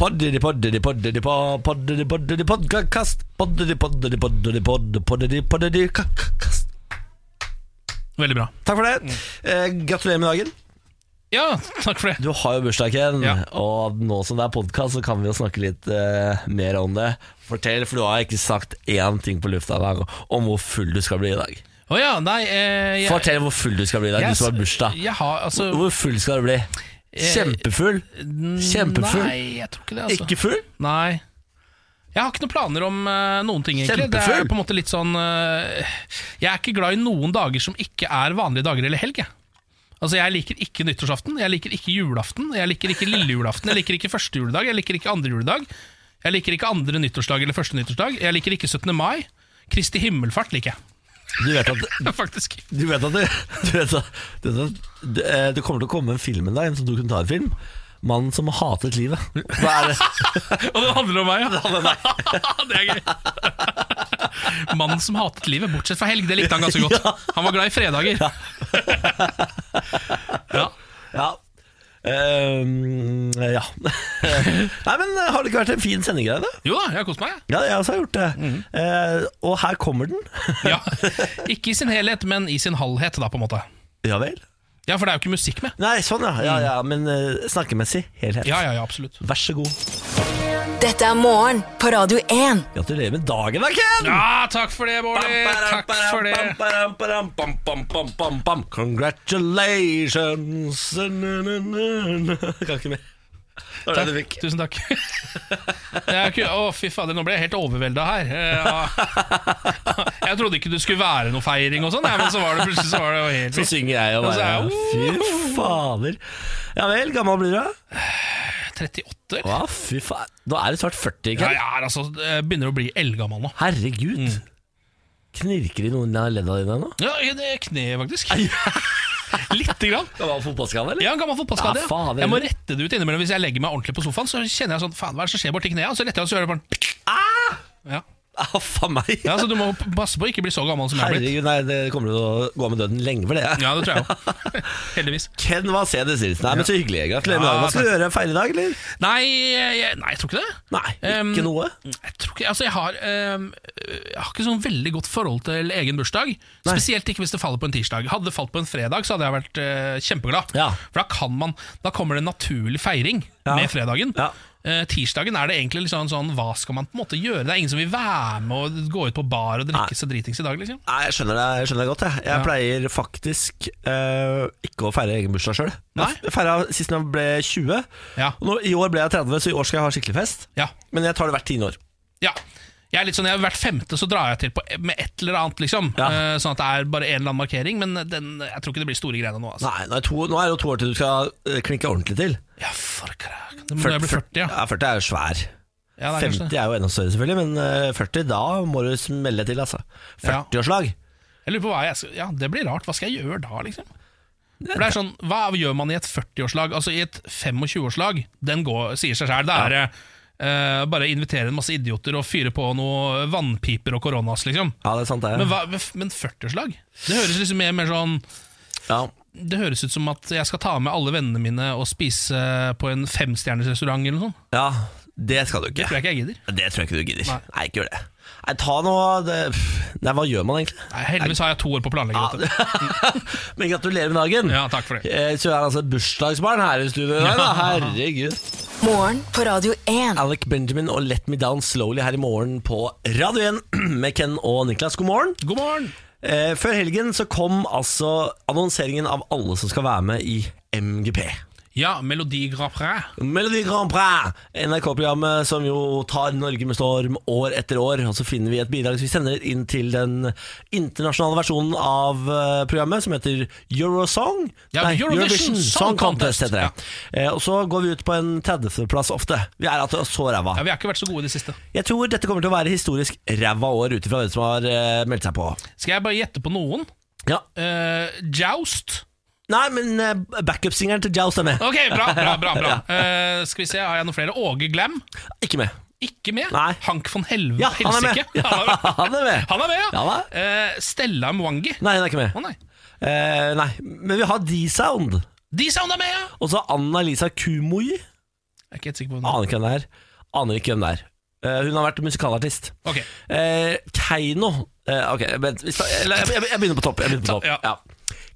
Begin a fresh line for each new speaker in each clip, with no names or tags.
Poddidi-poddidi-poddidi-poddidi-poddidi-poddkast Poddidi-poddidi-poddidi-poddidi-poddidi-poddidi-kast
Veldig bra.
Takk for det.
Mm.
Eh, gratulerer med dagen.
Ja, takk for det.
Du har jo bursdag, Ken.
Ja.
Og nå som det er podkast, så kan vi jo snakke litt eh, mer om det. Fortell, for du har ikke sagt én ting på lufta i dag om hvor full du skal bli i dag.
Å ja, nei eh, jeg-
Fortell hvor full du skal bli i dag,
jeg-
du som har bursdag.
Jeg har altså
Hvor full skal du bli? Kjempefull? Kjempefull?
Nei, jeg tror ikke det, Eh, altså.
Ikke full?
Nei. Jeg har ikke noen planer om eh, noen ting, egentlig. Det
Kjempefull.
er på en måte litt sånn eh, Jeg er ikke glad i noen dager som ikke er vanlige dager eller helg, jeg. Altså, Jeg liker ikke nyttårsaften, jeg liker ikke julaften, jeg liker ikke lille julaften, jeg liker ikke første juledag, jeg liker ikke andre juledag, jeg liker ikke andre nyttårsdag eller første nyttårsdag, jeg liker ikke 17. mai. Kristi himmelfart liker jeg,
Du vet at
faktisk.
Du vet at, det, du vet at, du vet at det, eh, det kommer til å komme en film en dag, en sånn dokumentarfilm. Mannen som hatet livet. Hva er det?
Og det handler om meg, ja. det er gøy. Mannen som hatet livet, bortsett fra helg. Det likte han ganske godt. Han var glad i fredager. Ja.
Ja. Ehm, ja. Nei, men eh, har det ikke vært en fin sending i dag, da?
Jo da, jeg har kost meg. jeg.
Ja, jeg også har gjort det. Eh, og her kommer den.
Ja. Ikke i sin helhet, men i sin halvhet, da, på en måte.
ja vel?
Ja, for det er jo ikke musikk med.
Nei, sånn ja. ja, ja men eh, snakkemessig helhet.
Ja, ja, ja, absolutt.
Vær så god.
Dette er morgen på Radio 1.
Gratulerer med dagen da, Ken!
Ja, takk for det,
Eh,
Bårdli. Takk for det.
det. Congratulations Kan ikke mer. Det var det du fikk.
Tusen takk. Jeg er ikke, å, fy fader, nå ble jeg helt overvelda her. Ja. Jeg trodde ikke det skulle være noe feiring og sånn, ja, men så var det plutselig så var det jo helt
Så synger jeg og
Og så
bare
er jeg-
Fy fader. Ja vel, gammel blir du? da?
38, eller?
Ja, fy faen. Nå er du snart 40,
Ja, Mm.
Ken.
jeg er altså, jeg begynner å bli eldgammel nå.
Herregud. Knirker det i noen av ledda dine nå?
Ja, i det kneet, faktisk. Lite grann.
Gammel fotballskade, eller?
Ja, en gammel
Ja,
fotballskade. Ja,
faen, det er
jeg må
det.
rette det ut innimellom hvis jeg legger meg ordentlig på sofaen. Så kjenner jeg sånn Faen, hva er det som skjer borti kneet? Og så retter jeg, og så gjør det bare ja.
Ah, faen meg.
ja, Så du må passe på å ikke bli så gammel som jeg er blitt.
Herregud, nei, det kommer til å gå av med døden lenge for det.
Ja, det tror jeg òg. Heldigvis.
Ken Vasedes Nilsen. Nei, men så hyggelig. Gratulerer med
Ja,
dagen. Hva skal du gjøre? Feire i dag, eller?
Nei, jeg, nei, jeg tror ikke det.
Nei,
Um,
ikke noe.
Jeg tror ikke, altså jeg har, ehm, jeg har ikke sånn veldig godt forhold til egen bursdag. Spesielt ikke hvis det faller på en tirsdag. Hadde det falt på en fredag, så hadde jeg vært eh, kjempeglad.
Ja.
For da, kan man, da kommer det en naturlig feiring
Ja.
med fredagen.
Ja.
Eh, tirsdagen er det egentlig liksom sånn hva skal man på en måte gjøre? Det er ingen som vil være med og gå ut på bar og drikke seg dritings i dag, liksom.
Nei, jeg skjønner det, jeg skjønner det godt. Jeg, jeg
Ja.
pleier faktisk eh, ikke å feire egen bursdag sjøl.
Nei.
Jeg feira sist jeg ble 20.
Ja.
Og nå, I år ble jeg 30, så i år skal jeg ha skikkelig fest.
Ja.
Men jeg tar det hvert tiende år.
ja. Jeg er litt sånn, jeg, hvert femte så drar jeg til på, e, med et eller annet, liksom.
Ja.
Eh, sånn at det er bare en eller annen markering. Men den, jeg tror ikke det blir store greiene nå, altså.
Nei, nå er, to, nå er det jo to år til du skal eh, klinke ordentlig til.
Ja, for kræk. Nå må jeg bli 40, ja.
ja 40 er jo svær.
ja det er kanskje det.
50 er jo enda større, selvfølgelig, men eh, 40, da må du smelle til, altså. 40-årslag.
Jeg lurer på hva jeg skal Ja, det blir rart. Hva skal jeg gjøre da, liksom? For det er sånn, Hva gjør man i et 40-årslag? Altså I et 25-årslag, den går, sier seg sjøl. Det er eh, bare invitere en masse idioter og fyre på noe vannpiper og koronas, liksom.
Ja, det er sant, det.
Men, hva- men 40-årslag? Det høres liksom mer, mer sånn
ja.
Det høres ut som at jeg skal ta med alle vennene mine og spise på en femstjerners restaurant eller noe sånt.
ja, det skal du ikke.
Tror jeg ikke jeg gidder.
Det tror jeg ikke du gidder. Nei,
Nei.
ikke gjør det. Nei, ta noe det, pff, Nei, hva gjør man egentlig?
Nei, Heldigvis har jeg to år på å planlegge dette.
Men gratulerer med dagen.
Ja, takk for det.
Eh, Så er det altså bursdagsbarn her i studio. i dag, da. Herregud.
Morgen på Radio 1.
Alec Benjamin og Let Me Down Slowly her i morgen på Radio 1 med Ken og Niklas. God morgen.
God morgen!
Eh, Før helgen så kom altså annonseringen av alle som skal være med i MGP.
Ja, Melodi Grand Prix.
Melodi Grand Prix, NRK-programmet som jo tar Norge med storm år etter år. Og så finner vi et bidrag som vi sender inn til den internasjonale versjonen av eh, programmet, som heter Eurosong.
Ja, Eurovision Song Contest,
heter det. Eh, og så går vi ut på en 30.-plass ofte. Vi er altså så ræva.
Ja, Vi har ikke vært så gode i det siste.
Jeg tror dette kommer til å være historisk ræva år ut ifra hvem som har eh, meldt seg på.
Skal jeg bare gjette på noen?
Ja.
Eh, Joust.
Nei, men eh, backup-singeren til Joust er med.
Ok, bra, bra, bra, bra. Eh, Skal vi se, har jeg noen flere? Åge Glam.
Ikke med.
Ikke med.
Nei.
Hank von Helve.
Ja, han er med.
Helsike.
Ja, han er med.
Han er med, ja.
Ja, da.
Eh, Stella Mwangi.
Nei, hun er ikke med.
Å nei.
Eh, nei, men vi har D-Sound.
De sounda med, ja!
Og så Anna-Lisa Kumoi.
Jeg er ikke helt sikker på hvem
Aner ikke hvem det er. Aner ikke hvem det er. Eh, hun har vært musikalartist.
det er. Ok,
Eh, Keiino eh, Ok, vent. vi sta- eller, Jeg, jeg, jeg begynner på topp. Jeg begynner på topp.
Ja.
Ja.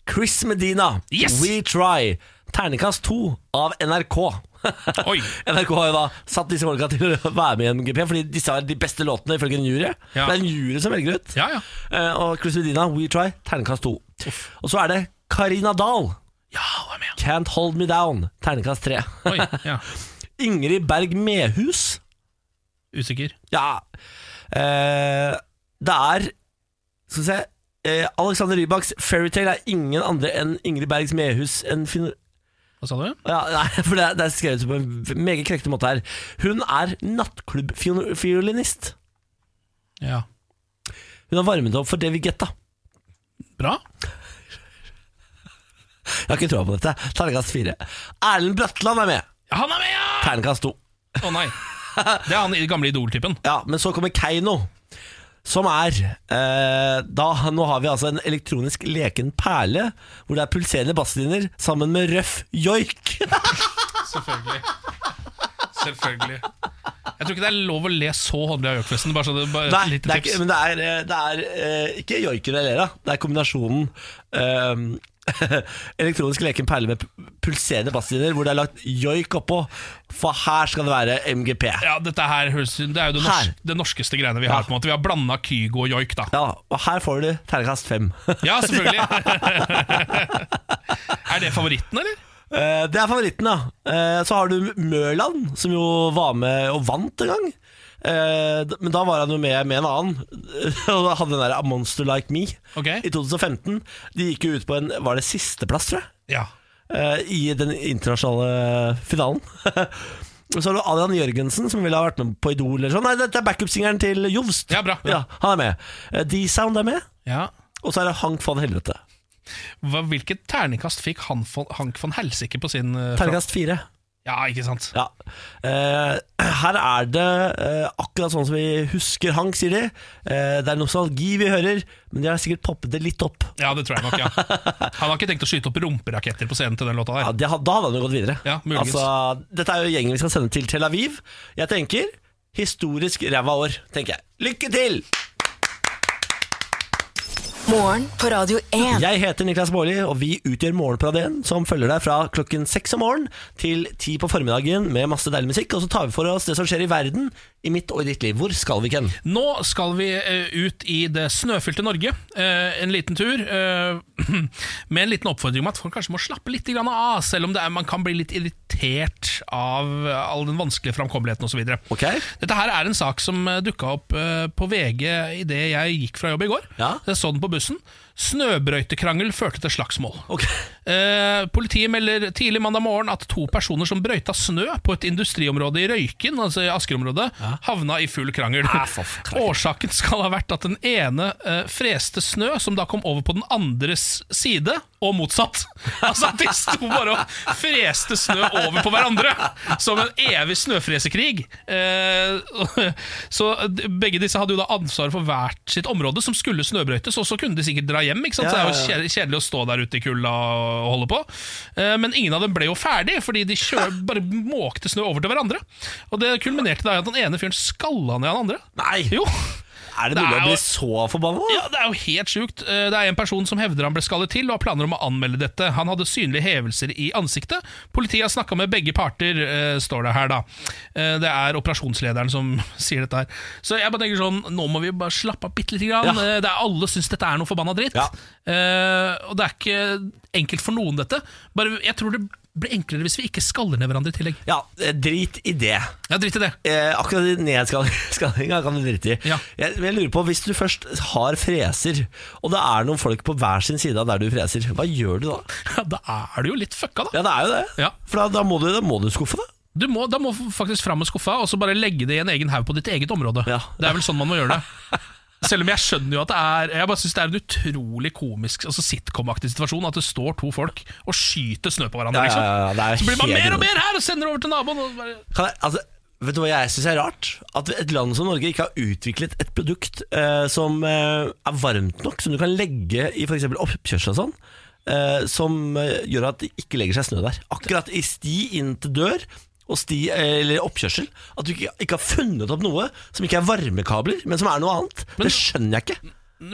Chris Medina,
Yes!
We Try. Terningkast to av NRK.
Oi.
NRK har jo da satt disse folka til å være med i MGP, fordi disse er de beste låtene ifølge en jury. Det
Ja.
er en jury som velger ut.
Ja, ja.
Eh, og Chris Medina, We Try, terningkast to. Og så er det Karina Dahl.
Ja, hun er med.
Can't Hold Me Down, terningkast tre.
Oi, ja.
Ingrid Berg Mehus.
Usikker.
Ja eh, Det er Skal vi se eh, Alexander Rybaks Fairytale er ingen andre enn Ingrid Bergs Mehus enn fin
Hva sa du?
ja, Nei, for det, er- det er skrevet på en v- meget krekte måte her. Hun er nattklubbfiolinist.
Ja.
Hun har varmet opp for David Guetta.
Bra.
Jeg har ikke troa på dette. Terningkast fire. Erlend Bratland er med.
Ja, han er med, ja!
Terningkast to.
Å nei. Det er han i gamle Idol-typen.
Ja, men så kommer Keiino Som er eh, da, Nå har vi altså en elektronisk leken perle Hvor det er pulserende basslinjer Sammen med røff joik
Selvfølgelig. Selvfølgelig. Jeg tror ikke det er lov å le så håndelig av Yorkfesten. Bare så det bare et
Nei,
lite
det er, ikke-
tips.
men det er, eh, det er eh, ikke joiken jeg ler av Det er kombinasjonen eh, Elektronisk leken perle med pu- pulserende basslinjer Hvor det er lagt joik oppå For her skal det være MGP
Ja, dette her høres Det er jo det,
Her.
norsk, det norskeste greiene vi har. på en måte Vi har blanda Kygo og joik, da.
Ja, og her får du ternekast 5
Ja, selvfølgelig. er det favoritten, eller?
Eh, Det er favoritten, ja. Eh, Så har du Mørland, som jo var med og vant en gang. Eh, d- Men da var han jo med med en annen, og da hadde den der A Monster Like Me
Ok.
i 2015. De gikk jo ut på en Var det sisteplass, tror jeg?
Ja.
eh, I den internasjonale finalen. Og Så har du Adrian Jørgensen, som ville ha vært med på Idol. Eller sånn. Nei, dette er backup-singeren til Jovst.
Ja, bra, bra.
Ja, han er med. Eh, D-Sound er med,
ja.
og så er det Hank van Helvete.
Hva, hvilket ternekast fikk han von, Hank von Helsike på sin eh, fra-
Terningkast fire.
Ja, ikke sant?
Ja. Eh, her er det eh, akkurat sånn som vi husker Hank, sier de. Eh, det er nostalgi vi hører, men de har sikkert poppet det litt opp.
Ja, det tror jeg nok, ja. Han har ikke tenkt å skyte opp rumperaketter på scenen til den låta
Ja,
der.
det, had- da hadde han jo gått videre.
Ja, muligens.
Altså, dette er jo gjengen vi skal sende til Tel Aviv. Jeg tenker historisk ræva år, tenker jeg. Lykke til!
Morgen på Radio 1.
Jeg heter Niklas Baarli, og vi utgjør Morgenparadien, som følger deg fra klokken seks om morgenen til ti på formiddagen med masse deilig musikk. Og så tar vi for oss det som skjer i verden, i mitt og i ditt liv. Hvor skal vi, Ken?
Nå skal vi eh, ut i det snøfylte Norge. eh, en liten tur. eh, med en liten oppfordring om at folk kanskje må slappe litt grann av, selv om det er, man kan bli litt irritert av eh, all den vanskelige framkommeligheten osv.
Ok.
Dette her er en sak som dukka opp eh, på VG idet jeg gikk fra jobb i går.
Ja.
Jeg så den på bussen. Snøbrøytekrangel førte til slagsmål.
Ok.
Eh, politiet melder tidlig mandag morgen at to personer som brøyta snø på et industriområde i Røyken, altså i Asker-området, havna i full krangel.
Ah, for f-
Årsaken skal ha vært at den ene eh, freste snø, som da kom over på den andres side, og motsatt. Altså at de sto bare og freste snø over på hverandre, som en evig snøfresekrig. Eh, så d- begge disse hadde jo da ansvar for hvert sitt område, som skulle snøbrøytes, og så kunne de sikkert dra hjem, ikke sant? Så det er jo
Ja, ja, ja.
kjedelig- kjedelig å stå der ute i kulda og holde på. Eh, Men ingen av dem ble jo ferdig, fordi de kjø- bare måkte snø over til hverandre. Og det kulminerte da i at den ene fyren skalla ned han andre.
Nei!
Jo,
Er det
Det
mulig
er
å bli
jo-
så forbanna?
ja, Det er jo helt sjukt. Eh, Det er en person som hevder han ble skallet til og har planer om å anmelde dette. Han hadde synlige hevelser i ansiktet. Politiet har snakka med begge parter, eh, står det her, da. Eh, Det er operasjonslederen som sier dette her. Så jeg bare tenker sånn, nå må vi bare slappe av bitte lite grann.
Ja.
Eh, Det er, alle syns dette er noe forbanna dritt.
Ja.
Eh, Og det er ikke enkelt for noen, dette. Bare, jeg tror det blir enklere hvis vi ikke skaller ned hverandre i tillegg.
Ja, eh, drit i det.
Ja, drit i det.
Eh, akkurat i nedskallinga kan du drite i.
Ja.
Jeg, men jeg lurer på, Hvis du først har freser, og det er noen folk på hver sin side av der du freser, hva gjør du da?
Ja, da er du jo litt fucka, da.
Ja, det er jo det.
Ja.
For da, da, må du, da må du skuffe det.
Du må, da må du faktisk fram med skuffa og så bare legge det i en egen haug på ditt eget område.
Ja.
Det er vel sånn man må gjøre det. Selv om jeg skjønner jo at det er Jeg bare synes det er en utrolig komisk altså sitcom-aktig situasjon at det står to folk og skyter snø på hverandre.
Ja, ja, ja,
liksom
det er
Så blir man
helt
mer og
enig.
mer her og sender over til naboen. Og bare,
Kan jeg, altså, vet du hva jeg syns er rart? At et land som Norge ikke har utviklet et produkt eh, som eh, er varmt nok, som du kan legge i f.eks. oppkjørsel og sånn. eh, som eh, gjør at det ikke legger seg snø der. Akkurat i sti inn til dør og sti, eh, eller oppkjørsel. At du ikke, ikke har funnet opp noe som ikke er varmekabler, men som er noe annet.
Men-
det skjønner jeg ikke.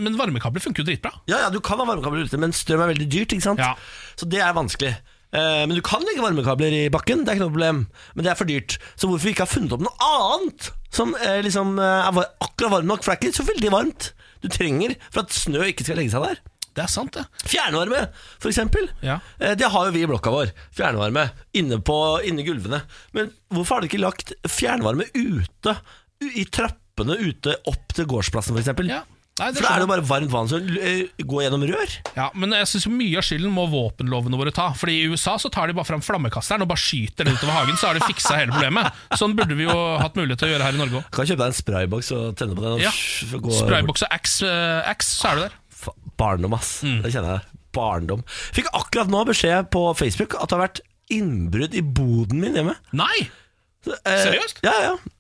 men varmekabler funker jo dritbra.
Ja, ja, du kan ha varmekabler ute, men strøm er veldig dyrt, ikke sant?
Ja.
Så det er vanskelig. Eh, men du kan legge varmekabler i bakken, det er ikke noe problem. Men det er for dyrt. Så hvorfor vi ikke har funnet opp noe annet som eh, liksom eh, er var- akkurat varmt nok? For det er ikke så veldig varmt du trenger for at snø ikke skal legge seg der.
Det er sant, det.
Fjernvarme, for eksempel.
Ja.
Eh, Det har jo vi i blokka vår. Fjernvarme inne på inne i gulvene. Men hvorfor har de ikke lagt fjernvarme ute? u- I trappene ute opp til gårdsplassen, f.eks.?
Ja. Nei, det
for da er
skjønner
det jo bare varmt vann som eh, går gjennom rør.
Ja, men jeg synes mye av skylden må våpenlovene våre ta. Fordi i USA så tar de bare fram flammekasteren og bare skyter den utover hagen, så har de fiksa hele problemet. Sånn burde vi jo hatt mulighet til å gjøre her i Norge òg.
Kan kjøpe deg en sprayboks og tenne på den. Og
Ja.
sh- gå bort.
Sprayboks og axe, eh, axe, så er du der.
Fa- Barndom, ass.
Mm.
Det kjenner jeg. Barndom. Fikk akkurat nå beskjed på Facebook at det har vært innbrudd i boden min hjemme.
Nei!
Så, eh,
Seriøst?
Ja, ja.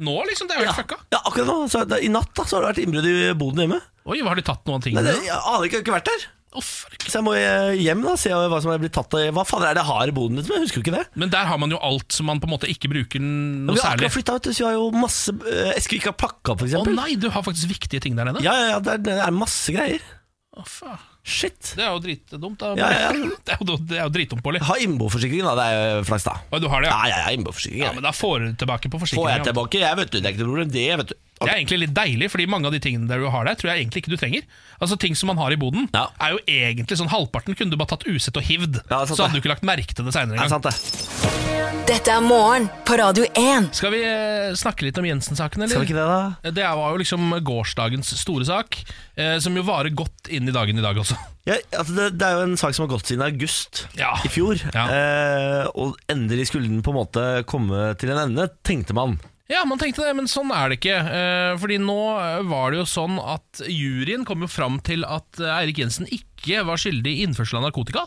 Nå, liksom. Det er jo
ja.
helt fucka.
ja akkurat nå. Så, da, I natt da, så har det vært innbrudd i boden hjemme.
Oi, hva har de tatt noen ting?
Nei, det,
med?
jeg aner ikke, jeg har ikke vært der.
Å, fuck.
Så jeg må eh, hjem da, se hva som er blitt tatt av Hva fader er det jeg har i boden min? Jeg husker jo ikke det.
Men der har man jo alt som man på en måte ikke bruker
Vi
noe
har
særlig.
akkurat flytta ut, så vi har jo masse eh, esker vi ikke har pakka opp, for
Å
eksempel.
nei, du har faktisk viktige ting der nede.
ja, ja, ja, det er, det er masse greier.
Å, faen.
Shit.
Det er jo dritdumt. Da.
Ja, ja, ja.
Det er jo, det er jo dritdumt, Polly.
Ha innboforsikring, da. Det er jo flaks, da.
Å, Du har det,
Ja,
ja?
ja, ja, innboforsikring.
Ja,
jeg.
men da får du tilbake på
Får jeg
forsikringa.
tilbake, jeg, vet du. Det er ikke noe problem, det, vet du.
Det er egentlig litt deilig, fordi mange av de tingene der du har der, tror jeg egentlig ikke du trenger. Altså Ting som man har i boden,
Ja.
er jo egentlig sånn halvparten kunne du bare tatt usett og
Ja,
hivd.
det er sant
så hadde
det.
du ikke lagt merke til det seinere
Er det sant,
engang.
det?
Dette er morgen på Radio 1.
Skal vi eh, snakke litt om Jensen-saken, eller?
Skal vi ikke det, da?
Det var jo liksom gårsdagens store sak, eh, som jo varer godt inn i dagen i dag også.
Ja, altså det, det er jo en sak som har gått siden august
Ja.
i fjor.
Ja.
Eh, og endelig skulle den på en måte komme til en ende, tenkte man.
Ja, man tenkte det, men sånn er det ikke. Eh, Fordi nå eh, var det jo sånn at juryen kom jo fram til at eh, Eirik Jensen ikke var skyldig i innførsel av narkotika.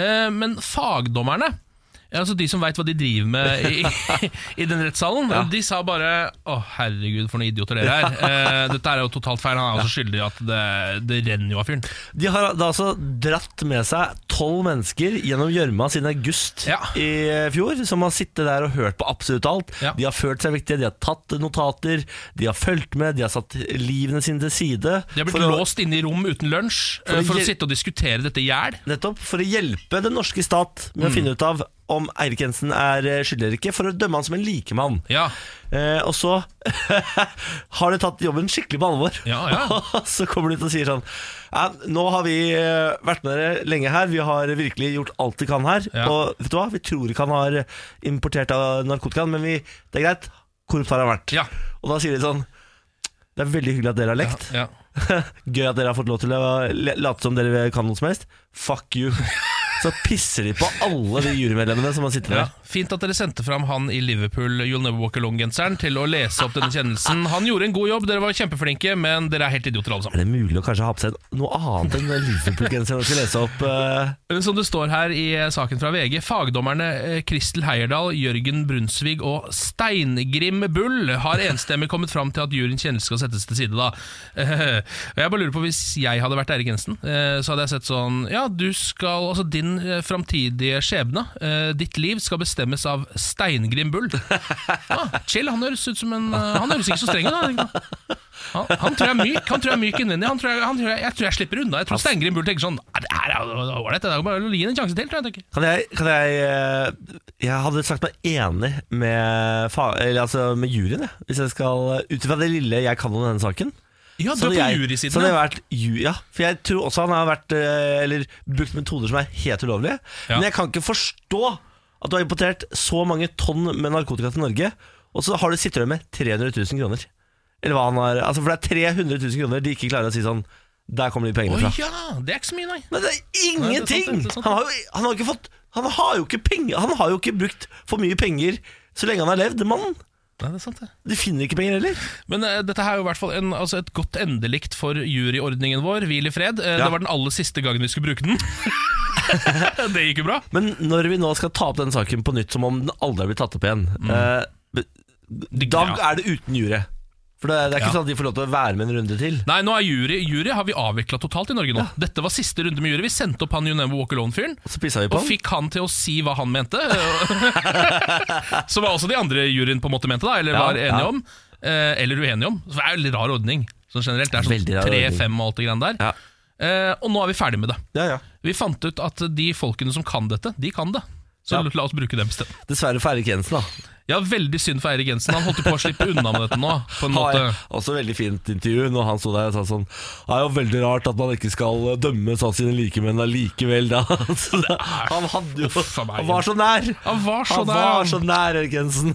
Eh, Men fagdommerne, altså de som veit hva de driver med i, i den rettssalen, de sa bare Å, herregud, for noen idioter dere er. Eh, Dette er jo totalt feil. Han er også skyldig i at det, det renner jo av fyren.
De har da altså dratt med seg tolv mennesker gjennom gjørma siden august
Ja.
i fjor, som har sittet der og hørt på absolutt alt.
Ja.
De har følt seg viktige, de har tatt notater, de har fulgt med, de har satt livene sine til side.
De har blitt
for å-
låst inne i rom uten lunsj
å
eh, for å
gjel-
sitte og diskutere dette i hjel.
Nettopp for å hjelpe den norske stat med
Mm.
å finne ut av om Eirik Jensen er eh, skyldig eller ikke, for å dømme han som en likemann.
Ja.
Eh, og så har de tatt jobben skikkelig på alvor.
Ja, ja.
Og så kommer de ut og sier sånn ja, Nå har vi eh, vært med dere lenge her, vi har virkelig gjort alt vi kan her.
Ja.
Og vet du hva, vi tror ikke han har importert av narkotikaen, men vi, det er greit. Korrupt har han vært.
Ja.
Og da sier de sånn Det er veldig hyggelig at dere har lekt.
ja.
Gøy at dere har fått lov til å le- late som dere kan noe som helst. Fuck you. Så pisser de på alle de jurymedlemmene som har sittet
Ja.
der.
Fint at dere sendte fram han i Liverpool You'll Never Walk Alone-genseren til å lese opp denne kjennelsen. Han gjorde en god jobb, dere var kjempeflinke, men dere er helt idioter alle sammen.
Er det mulig å kanskje ha på seg noe annet enn den Liverpool-genseren vi skal lese opp? eh?
Som det står her i eh, saken fra VG, fagdommerne eh, Kristel Heierdal, Jørgen Brunsvig og Steingrim Bull har enstemmig kommet fram til at juryens kjennelse skal settes til side, da. Eh, og jeg bare lurer på, hvis jeg hadde vært Eirik Jensen, eh, så hadde jeg sett sånn Ja, du skal Altså, din eh, framtidige skjebne, eh, ditt liv, skal bestemmes av Steingrim Bull. Ja, chill, han høres ut som en eh, Han høres ikke så streng ut. da, tenker jeg. Han, han tror jeg er myk Han tror jeg er myk innvendig. Han tror jeg, han tror jeg, jeg tror jeg slipper unna. Jeg tror Steingrim Bull tenker sånn «Nei, Det her er jo ålreit, det er jo bare å gi den en sjanse til. Tror jeg, tenker.
Kan jeg, kan jeg eh, Jeg hadde sagt meg enig med, fa- eller altså med juryen, jeg, hvis jeg skal Ut fra det lille jeg kan om denne saken.
Ja, du
så
er på
hadde jeg-
jurysiden,
Så hadde jeg
ja.
vært ju- ja. For jeg tror også han har vært eh, Eller brukt metoder som er helt ulovlige.
Ja.
Men jeg kan ikke forstå at du har importert så mange tonn med narkotika til Norge, og så har du sitter du med 300 000 kroner. Eller hva han har Altså, for det er 300 000 kroner de ikke klarer å si sånn Der kommer de
Å
pengene fra.
ja, det er ikke så mye, nei.
Nei, det er
Nei, det er sant, det er
ingenting!
sant, det.
Han har jo han har ikke fått Han har jo ikke penger Han har jo ikke brukt for mye penger så lenge han har levd, mannen.
nei det er sant, det.
De finner ikke penger heller.
Men eh, dette her er jo i hvert fall en, altså et godt endelikt for juryordningen vår. Hvil i fred. Eh,
Ja.
Det var den aller siste gangen vi skulle bruke den. det gikk jo bra.
Men når vi nå skal ta opp den saken på nytt som om den aldri har blitt tatt opp igjen, eh, da
Mm. Ja.
er det uten jury. For det, det er ikke
Ja.
sånn at de får lov til å være med en runde til.
Nei, nå er jury, jury har vi avvikla totalt i Norge nå. Dette var siste runde med jury. Vi sendte opp han You Never Walk Alone-fyren.
Og så pissa vi på
Og
han.
fikk han til å si hva han mente. Som også de andre i juryen på en måte mente, da, eller
Ja,
var enige
ja.
om. eh, Eller uenige om. Så det er jo en litt rar ordning. Sånn generelt, Det er
Veldig rar
sånn
ordning.
tre-fem og alt det greiene der.
Ja.
Eh, og nå er vi ferdig med det.
Ja, ja.
Vi fant ut at de folkene som kan dette, de kan det. Så
Ja.
la oss bruke dem i stedet.
Dessverre for Erik Jensen, da.
Ja, veldig synd for Eirik Jensen. Han holdt jo på å slippe unna med dette nå. På en
Har
måte.
jeg også veldig fint intervju når han sto der og sa sånn Det er jo veldig rart at man ikke skal eh, dømme sånn sine likemenn allikevel, da. Så det- Han hadde jo
Uff, a meg.
Han var så nær!
Han var så
Han
der.
var så nær, Erik Jensen.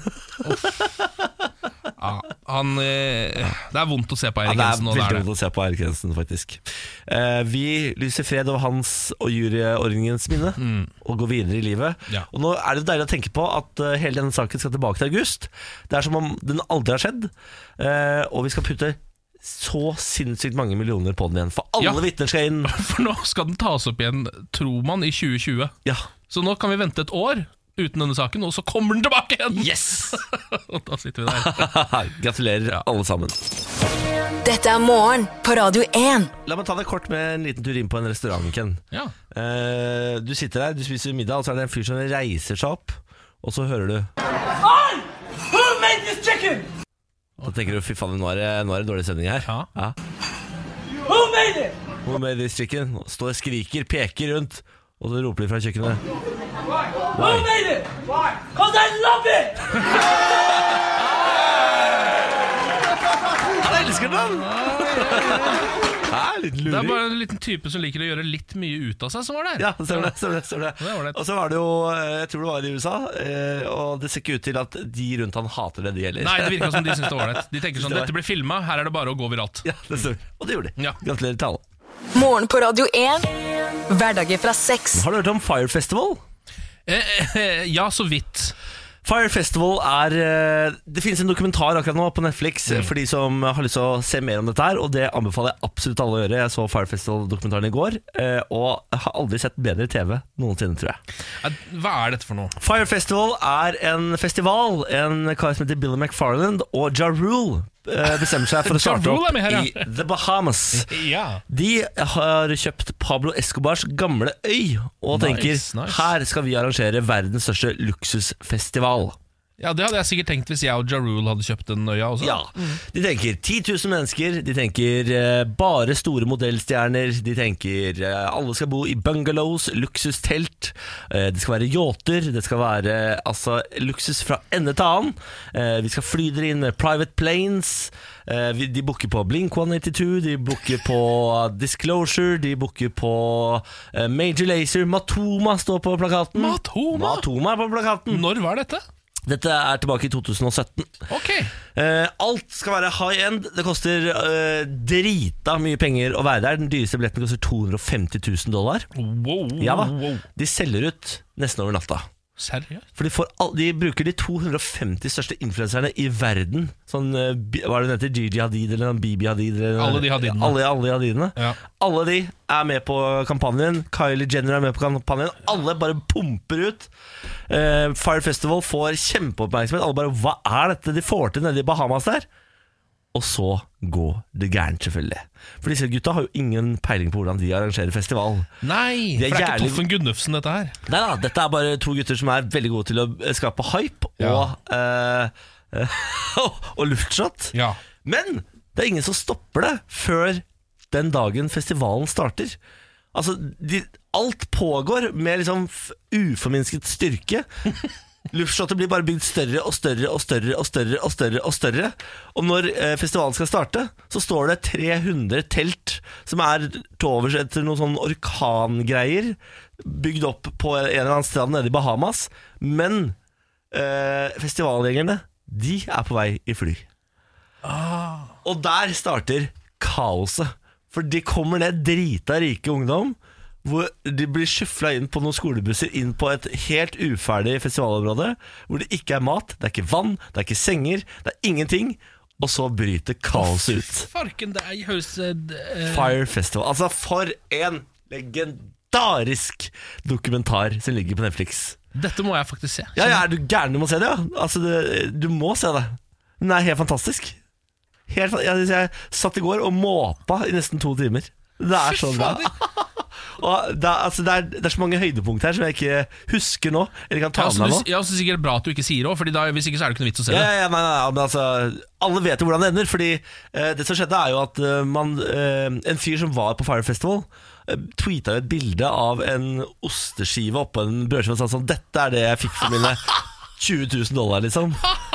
Ja, han, eh, det er vondt å se på
Ja,
Eirik
det er
Jensen nå. Det
veldig
er det.
vondt å se på Erik Jensen, faktisk. Eh, vi lyser fred over hans og juryordningens minne, og går videre i livet.
Mm. Ja.
Og nå er det deilig å tenke på at eh, hele denne saken skal tilbake til august. Det er som om den aldri har skjedd, eh, og vi skal putte så sinnssykt mange millioner på den igjen. For alle
Ja.
vitner skal inn.
For nå skal den tas opp igjen, tror man, i 2020.
Ja.
Så nå kan vi vente et år uten denne saken, og så kommer den tilbake igjen! Yes! og da sitter vi der.
Gratulerer, alle sammen.
Dette er morgen på Radio 1.
La meg ta deg kort med en liten tur inn på en restaurant, Ken.
Ja.
Eh, du sitter der, du spiser middag, og så er det en fyr som reiser seg opp, og så hører du
I! Who made this chicken?
Da tenker du fy faen, nå er det, nå er det dårlig stemning her.
Ja.
Who made it?
Hvor med de strikken? Står og skriker, peker rundt, og så roper de fra kjøkkenet.
Who made it? Why? Cause I love it!
Han elsker den! Ja, litt
Det er
luring.
bare en liten type som liker å gjøre litt mye ut av seg, som var der.
Ja, stemmer det. stemmer det, stemmer
Det er
det.
ålreit.
Og så var det jo, eh, jeg tror det var i USA, eh, og det ser ikke ut til at de rundt han hater det de gjelder.
Nei, det virka som de syntes det var ålreit. De tenker sånn,
Det var-
dette blir filma, her er det bare å gå viralt.
Ja, det stemmer. Og det gjorde de.
Ja.
Gratulerer til alle.
Morgen på Radio 1. Hverdager fra seks.
Har du hørt om Fire Festival?
Eh, eh, ja, så vidt.
Fire Festival er eh, Det finnes en dokumentar akkurat nå på Netflix
Mm.
eh, for de som har lyst til å se mer om dette her, og det anbefaler jeg absolutt alle å gjøre. Jeg så Fire Festival-dokumentaren i går, eh, og har aldri sett bedre TV noensinne, tror jeg.
Eh, Hva er dette for noe?
Fire Festival er en festival. En kar som heter Billy McFarland og Ja Rule eh, bestemmer seg for å
Ja
starte
Rule er
opp
med her, ja.
i The Bahamas.
Ja.
De har kjøpt Pablo Escobars gamle øy og tenker
Nice, nice.
her skal vi arrangere verdens største luksusfestival.
ja, det hadde jeg sikkert tenkt hvis jeg og Ja Rule hadde kjøpt den øya også.
Ja, De tenker 10 000 mennesker, de tenker eh, bare store modellstjerner, de tenker eh, alle skal bo i bungalows, luksustelt, eh, det skal være yachter, det skal være eh, altså, luksus fra ende til annen. Eh, vi skal fly dere inn med private planes. Eh, vi, de booker på Blink 182, de booker på Disclosure, de booker på eh, Major Lazer. Matoma står på plakaten.
Matoma?
Matoma er på plakaten.
Når var dette?
Dette er tilbake i 2017.
Ok.
Eh, alt skal være high end. Det koster eh, drita mye penger å være der. Den dyreste billetten koster 250 000 dollar.
Wow,
Ja da.
wow.
De selger ut nesten over natta.
Seriøst?
For de, får all, de bruker de 250 største influenserne i verden. Sånn, eh, Bi- hva er det hun heter? Gigi Hadid eller noen Bibi Hadid? Eller,
Alle de Hadidene.
Alle, alle de Hadidene.
Ja.
Alle de er med på kampanjen. Kylie Jenner er med på kampanjen. Alle bare pumper ut. Eh, Fire Festival får kjempeoppmerksomhet. Alle bare Hva er dette de får til nede i Bahamas der? Og så går det gærent, selvfølgelig. For disse gutta har jo ingen peiling på hvordan de arrangerer festival.
Nei,
Det er
for det er
jævlig-
ikke Toffen Gunnufsen, dette her.
Nei da, dette er bare to gutter som er veldig gode til å eh, skape hype
Ja.
og, eh, og luftshot.
Ja.
Men det er ingen som stopper det før den dagen festivalen starter. Altså, de, alt pågår med liksom f- uforminsket styrke. Luftslottet blir bare bygd større og større og større og større og større. Og større Og når eh, festivalen skal starte, så står det 300 telt som er tovers etter noen sånne orkangreier, bygd opp på en eller annen strand nede i Bahamas. Men eh, festivalgjengerne, de er på vei i fly. Og der starter kaoset. For de kommer ned drita rike ungdom. Hvor de blir skyfla inn på noen skolebusser inn på et helt uferdig festivalområde. Hvor det ikke er mat, det er ikke vann, det er ikke senger, det er ingenting. Og så bryter kaoset ut.
Farken, det er- høres eh, d- eh,
Fire Festival. Altså, for en legendarisk dokumentar som ligger på Netflix.
Dette må jeg faktisk se.
Ja, ja, er du gæren? Du må se det, ja. Altså, det, du må se det. Den er helt fantastisk. Helt, fa- jeg, jeg satt i går og måpa i nesten to timer. Det er så bra. Og det, er- altså, det, er, det er så mange høydepunkt her som jeg ikke husker nå. Eller kan ta
Ja,
med
så
meg
du,
nå.
ja, så sikkert bra at du ikke sier det òg, hvis ikke så er det ikke noe vits å se
Ja,
det.
ja, ja, nei, nei, nei, men altså, alle vet jo hvordan det ender. Fordi eh, det som skjedde, er jo at eh, man, eh, en fyr som var på Fire Festival, eh, tweeta jo et bilde av en osteskive oppå en brødskive og sa sånn Dette er det jeg fikk for mine 20 000 dollar, liksom.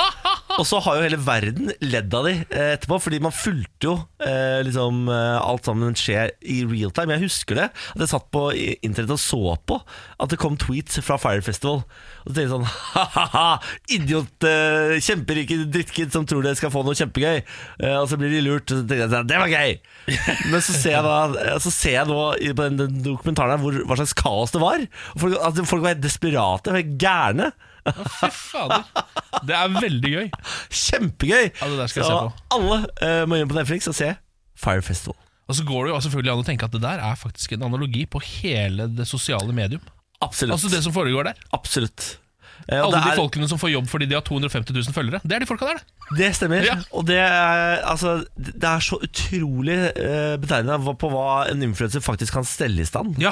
Og så har jo hele verden ledd av de eh, etterpå, fordi man fulgte jo eh, liksom eh, alt sammen skjer i real time. Jeg husker det. At jeg satt på i- internett og så på at det kom tweets fra Fire Festival. Og så tenkte jeg sånn ha-ha-ha, idiot, eh, kjemperike drittkid som tror de skal få noe kjempegøy. Eh, og så blir de lurt. Og så tenkte jeg sånn, det var gøy! Men så ser jeg, da, eh, så ser jeg nå i- på den, den dokumentaren her hvor, hva slags kaos det var. Og Folk, altså, folk var helt desperate, helt gærne.
Fy fader. Det er veldig gøy.
Kjempegøy!
Ja, det der skal jeg
så
se på.
alle eh, må inn på Netflix og se Fire Festival.
Og så går det jo altså selvfølgelig an å tenke at det der er faktisk en analogi på hele det sosiale medium.
Absolutt.
Altså det som foregår der.
Absolutt. Eh, og
Alle
det,
de
er,
folkene som får jobb fordi de har 250 000 følgere. Det er de folka der, det.
det stemmer.
Ja.
Og det er, altså, det er så utrolig uh, betegnende på hva en influenser faktisk kan stelle i stand.
Ja.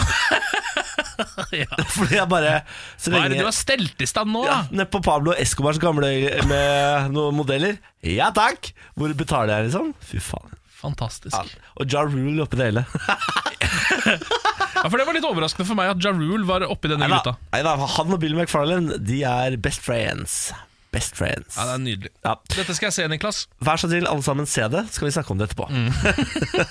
ja.
Fordi jeg bare så
Hva er det
lenge-
du har stelt i stand nå,
ja,
da?
Nede på Pablo Escobars gamle øye med noen modeller. Ja takk! Hvor betaler jeg, liksom? Fy faen.
Fantastisk.
Og Jar Rule oppi det hele.
Ja, For det var litt overraskende for meg at Ja Rule var oppi denne
Neida,
gryta.
neida, han og Bill McFarlane De er best friends. Best friends.
Ja, det er nydelig.
Ja.
Dette skal jeg se, Niklas.
Vær så snill, alle sammen se det, så skal vi snakke om det etterpå.
Mm.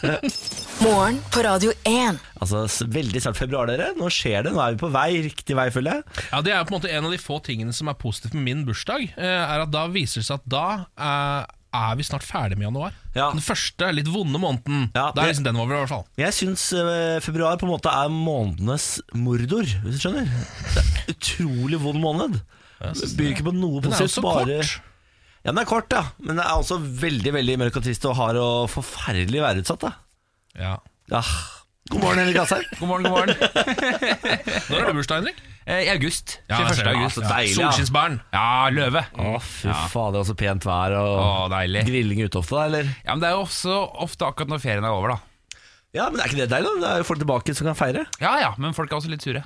Morgen på Radio 1.
Altså, s- Veldig snart februar, dere. Nå skjer det. Nå er vi på vei. Riktig vei, føler jeg.
Ja, Det er jo på en måte en av de få tingene som er positivt med min bursdag, eh, er at da viser det seg at da eh, er vi snart ferdig med januar.
Ja.
Den første litt vonde måneden.
Ja,
da er
det-
liksom den over, i hvert fall.
Jeg syns eh, februar på en måte er månedenes mordor, hvis du skjønner. Det er Utrolig vond måned. Byr ikke på noe
Den er jo
positivt.
så
Bare
kort.
Ja, den er kort, ja. Men den er også veldig veldig mørk og trist og hard og forferdelig værutsatt. da.
Ja.
Ja. God morgen, Henrik Asheim.
God morgen, god morgen.
Når er det bursdag, Henrik?
Eh, I august.
Ja,
21.
jeg ser det.
august.
Ja, så deilig, ja.
Solskinnsbarn. Mm.
Ja, løve.
Å, fy fader, så pent vær og
Å, deilig.
grilling ute ofte, da, eller?
Ja, men Det er jo også ofte akkurat når ferien er over, da.
Ja, men er ikke det deilig? da? Det er jo folk tilbake som kan feire.
Ja ja, men folk er også litt sure.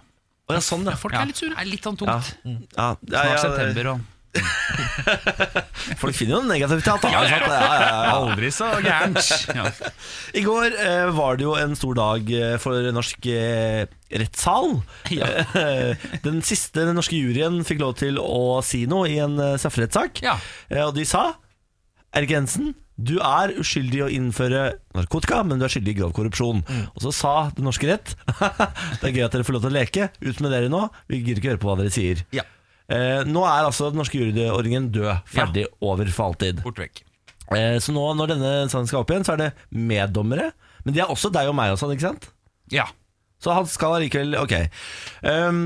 Å, ja, sånn, ja.
Folk
Ja.
er litt sure.
Det er litt sånn
Ja.
tungt.
Ja. Ja, ja,
Snart
ja,
september og
Folk finner jo negativitet. da. Ja, sant? Ja, ja, ja, ja.
Aldri så gærent. Ja.
I går eh, var det jo en stor dag eh, for norsk eh, rettssal. Eh, den siste den norske juryen fikk lov til å si noe i en eh, strafferettssak.
Ja.
Eh, og de sa Erik Jensen, du er uskyldig i å innføre narkotika, men du er skyldig i grov korrupsjon. Og så sa den norske rett det er gøy at dere får lov til å leke. Ut med dere nå. Vi gidder ikke høre på hva dere sier.
Ja.
Eh, nå er altså den norske juryordningen død. Ferdig over for alltid.
Bort vekk.
Eh, Så nå når denne sangen skal opp igjen, så er det meddommere. Men de er også deg og meg og sånn, ikke sant?
Ja.
Så han skal allikevel Ok. Um,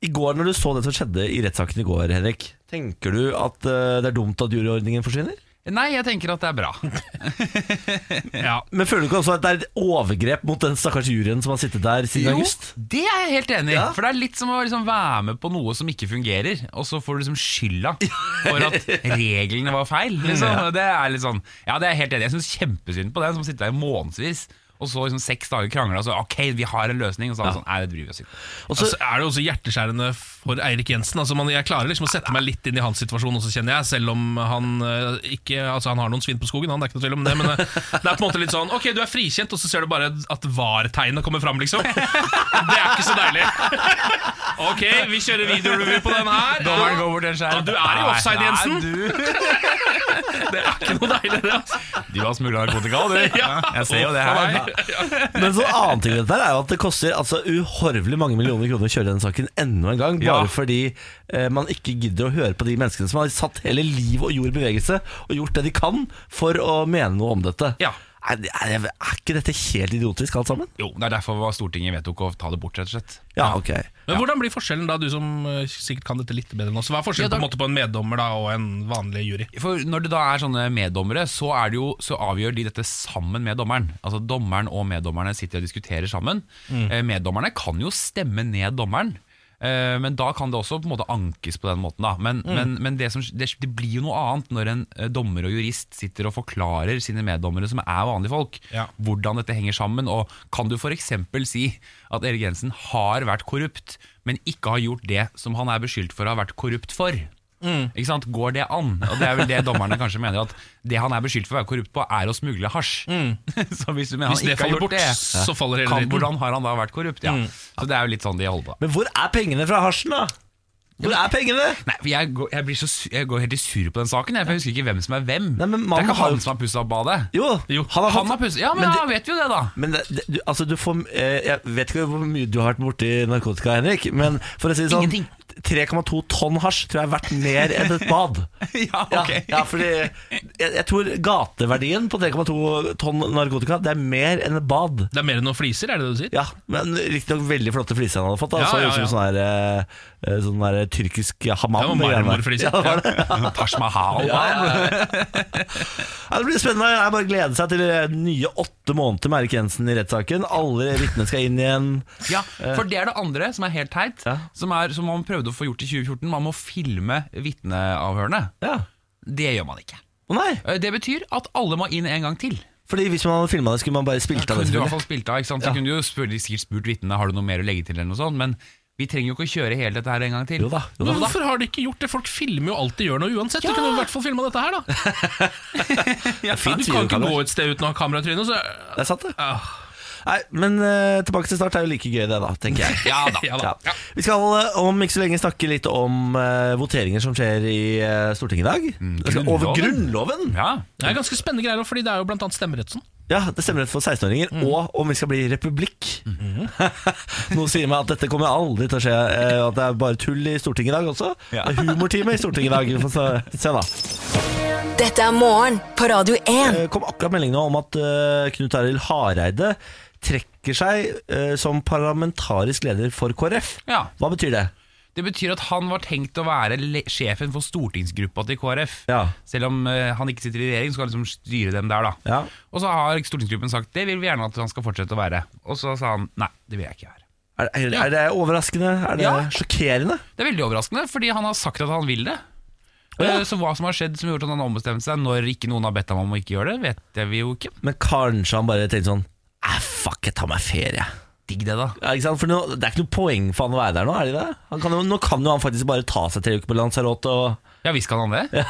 I går, når du så det som skjedde i rettssaken i går, Henrik, tenker du at eh, det er dumt at juryordningen forsvinner?
Nei, jeg tenker at det er bra.
Ja.
Men føler du ikke også at det er et overgrep mot den stakkars juryen som har sittet der siden august?
det er jeg helt enig i.
Ja.
For det er litt som å liksom være med på noe som ikke fungerer, og så får du liksom skylda for at reglene var feil. Liksom. Det er litt sånn Ja, det er jeg helt enig i. Jeg syns kjempesynd på den som sitter der i månedsvis Og så liksom seks dager krangla, og så ok, vi har en løsning. Og så er det sånn, nei, det bryr vi oss ikke om.
Og så-
Så Altså, er det jo også hjerteskjærende for Eirik Jensen. Altså man, jeg klarer liksom å sette meg litt inn i hans situasjon også, kjenner jeg. Selv om han eh, ikke Altså han har noen svin på skogen, han, det er ikke noe tvil om det. Men eh, det er på en måte litt sånn Ok, du er frikjent, og så ser du bare at VAR-tegnet kommer fram, liksom. Det er ikke så deilig. Ok, vi kjører videorevy på den her.
Dommeren går bort til en skjerm.
Ja, du er i
Nei,
offside,
nei,
Jensen.
du.
Det er ikke noe deilig, det. Altså.
Du har smugla narkotika, du.
Ja.
Jeg ser jo det her.
Nei.
Men så annen ting i dette her er jo at det koster altså, uhorvelig mange millioner kroner å kjøre den saken enda en gang, bare
Ja.
fordi eh, man ikke gidder å høre på de menneskene som har satt hele liv og jord i bevegelse og gjort det de kan for å mene noe om dette.
Ja.
Er, er, er ikke dette helt idiotisk alt sammen?
Jo, det er derfor hva Stortinget vedtok å ta det bort, rett og slett.
Ja, ok.
Men Hvordan blir forskjellen, da, du som eh, sikkert kan dette litt bedre enn oss? Hva er forskjellen
Ja, da-
på, en måte på en meddommer da, og en vanlig jury?
For når det da er sånne meddommere, så, er det jo, så avgjør de dette sammen med dommeren. Altså Dommeren og meddommerne sitter og diskuterer sammen.
Mm.
Eh, Meddommerne kan jo stemme ned dommeren. Eh, Men da kan det også på en måte ankes på den måten. da Men,
Mm.
men, men det, som, det, det blir jo noe annet når en eh, dommer og jurist sitter og forklarer sine meddommere, som er vanlige folk,
Ja.
hvordan dette henger sammen. Og kan du f.eks. si at Erik Jensen har vært korrupt, men ikke har gjort det som han er beskyldt for å ha vært korrupt for?
Mm.
Ikke sant? Går det an? Og Det er vel det dommerne kanskje mener, at det han er beskyldt for å være korrupt på, er å smugle hasj. Så hvis du mener
Mm. Hvis
han ikke
det
har
faller
gjort
bort,
det,
så faller hele
kan,
dritten. Mm.
hvordan har han da vært korrupt? Ja. Så det er jo litt sånn de holder på.
Men hvor er pengene fra hasjen, da? Hvor er pengene?
Nei, for jeg, går, jeg, blir så, su- jeg går helt i sur på den saken, jeg, for jeg husker ikke hvem som er hvem.
Nei, men
det
mannen
er ikke
har jo-
han som har pussa opp badet.
Jo,
Jo,
han har fått
Han har pusset, ja, men,
Men
da vet vi jo det, da.
Men det, det, du, altså du får, eh, jeg vet ikke hvor mye du har vært borti narkotika, Henrik, men for å si det sånn
Ingenting.
3,2 tonn hasj tror jeg er verdt mer enn et bad.
Ja, ok.
ja, fordi jeg, jeg tror gateverdien på 3,2 tonn narkotika Det er mer enn et bad.
Det er mer enn noen fliser, er det det du sier?
Ja, men Riktignok veldig flotte fliser han hadde fått. Da.
Ja,
så
ja,
ut som
ja.
sånn der, eh, sånn der tyrkisk
Det
hamam.
var
det greiene der.
marmorfliser.
Ja, det var det.
Taj Mahal.
Ja, det blir spennende. Det er bare å glede seg til eh, nye åtte måneder med Erik Jensen i rettssaken. Alle vitnene skal inn igjen.
Ja, for det er det andre som er helt teit,
Eh. Ja.
som, er, som man prøvde å få gjort i 2014. Man må filme vitneavhørene.
Ja.
Det gjør man ikke.
Å nei!
Eh, Det betyr at alle må inn en gang til.
Fordi hvis man hadde filma det, skulle man bare spilt av
Kunne
det.
du i hvert
selvfølgelig.
fall spilt av, ikke sant? Så
Ja.
kunne du jo spør, de sikkert spurt vitnene Har du noe mer å legge til, eller noe sånt. Men vi trenger jo ikke å kjøre hele dette her en gang til.
Jo da, jo
Men
da.
hvorfor har de ikke gjort det? Folk filmer jo alt de gjør nå uansett. Du kunne jo i hvert fall filma dette her, da.
fint
du kan ikke
videokamera.
gå et sted uten å ha kamera i trynet. Så...
Det er sant, det.
Ah,
Nei, men eh, tilbake til start er jo like gøy, det, da, tenker jeg.
Ja da.
ja
Ja.
da. Ja.
Vi skal eh, om ikke så lenge snakke litt om eh, voteringer som skjer i eh, Stortinget i dag. Vi skal Over Grunnloven!
Ja.
Det er ganske spennende greier, fordi det er jo blant annet stemmeretten.
Ja, det stemmer rett for 16-åringer. Og om vi skal bli republikk. Noe sier meg at dette kommer aldri til å skje. eh, At det er bare tull i Stortinget i dag også.
Ja.
Det er humortime i Stortinget i dag. Vi får se- se da.
Dette er morgen på Radio 1.
Det Eh, kom akkurat melding nå om at eh, Knut Arild Hareide trekker seg eh, som parlamentarisk leder for KrF.
Ja.
Hva betyr det?
Det betyr at han var tenkt å være le sjefen for stortingsgruppa til KrF.
Ja.
Selv om eh, han ikke sitter i regjering, så kan han liksom styre dem der, da.
Ja.
Og så har stortingsgruppen sagt det vil vi gjerne at han skal fortsette å være. Og så sa han nei, det vil jeg ikke være.
Er, er, er det overraskende? Er det
Ja.
sjokkerende?
Det er veldig overraskende, fordi han har sagt at han vil det. Eh, Så hva som har skjedd som har gjort at han har ombestemt seg når ikke noen har bedt ham om å ikke gjøre det, vet vi jo ikke.
Men kanskje han bare tenkte sånn Æh, fuck, jeg tar meg ferie.
Digg det, da.
Ja, ikke sant? For nå, Det er ikke noe poeng for han å være der nå, er det det? Han kan jo, nå kan jo han faktisk bare ta seg tre uker på Lanzarote og
Ja visst kan han det.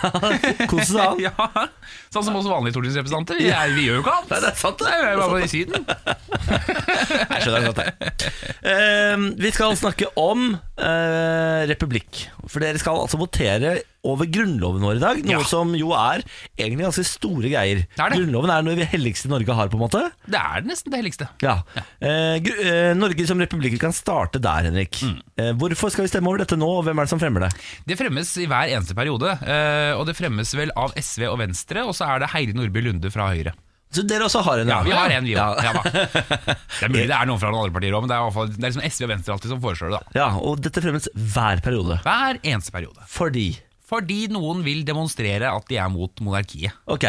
kose seg, han.
Ja, Sånn som oss vanlige stortingsrepresentanter. Vi, er- vi gjør jo ikke annet.
Nei, det er sant, det.
Nei, vi er bare på i Syden.
Jeg skjønner godt det. Eh, vi skal snakke om eh, republikk. For dere skal altså votere over grunnloven vår i dag. Noe
Ja.
som jo er egentlig ganske store greier.
er det.
Grunnloven er noe vi helligste Norge har, på en måte.
Det er nesten det helligste.
Ja. Eh, gru- eh, Norge som republikk vi kan starte der, Henrik.
Mm.
Eh, hvorfor skal vi stemme over dette nå, og hvem er det som fremmer det?
Det fremmes i hver eneste periode, eh, og det fremmes vel av SV og Venstre, og så er det Heidi Nordby Lunde fra Høyre.
Så dere også har en,
Ja, vi har en, vi
Ja.
òg. Ja, da. det er mulig det er noen fra noen andre partier òg, men det er, i hvert fall, det er liksom SV og Venstre alltid som foreslår det. da.
Ja, og dette fremmes hver periode.
Hver eneste periode.
Fordi
Fordi noen vil demonstrere at de er mot monarkiet.
Ok.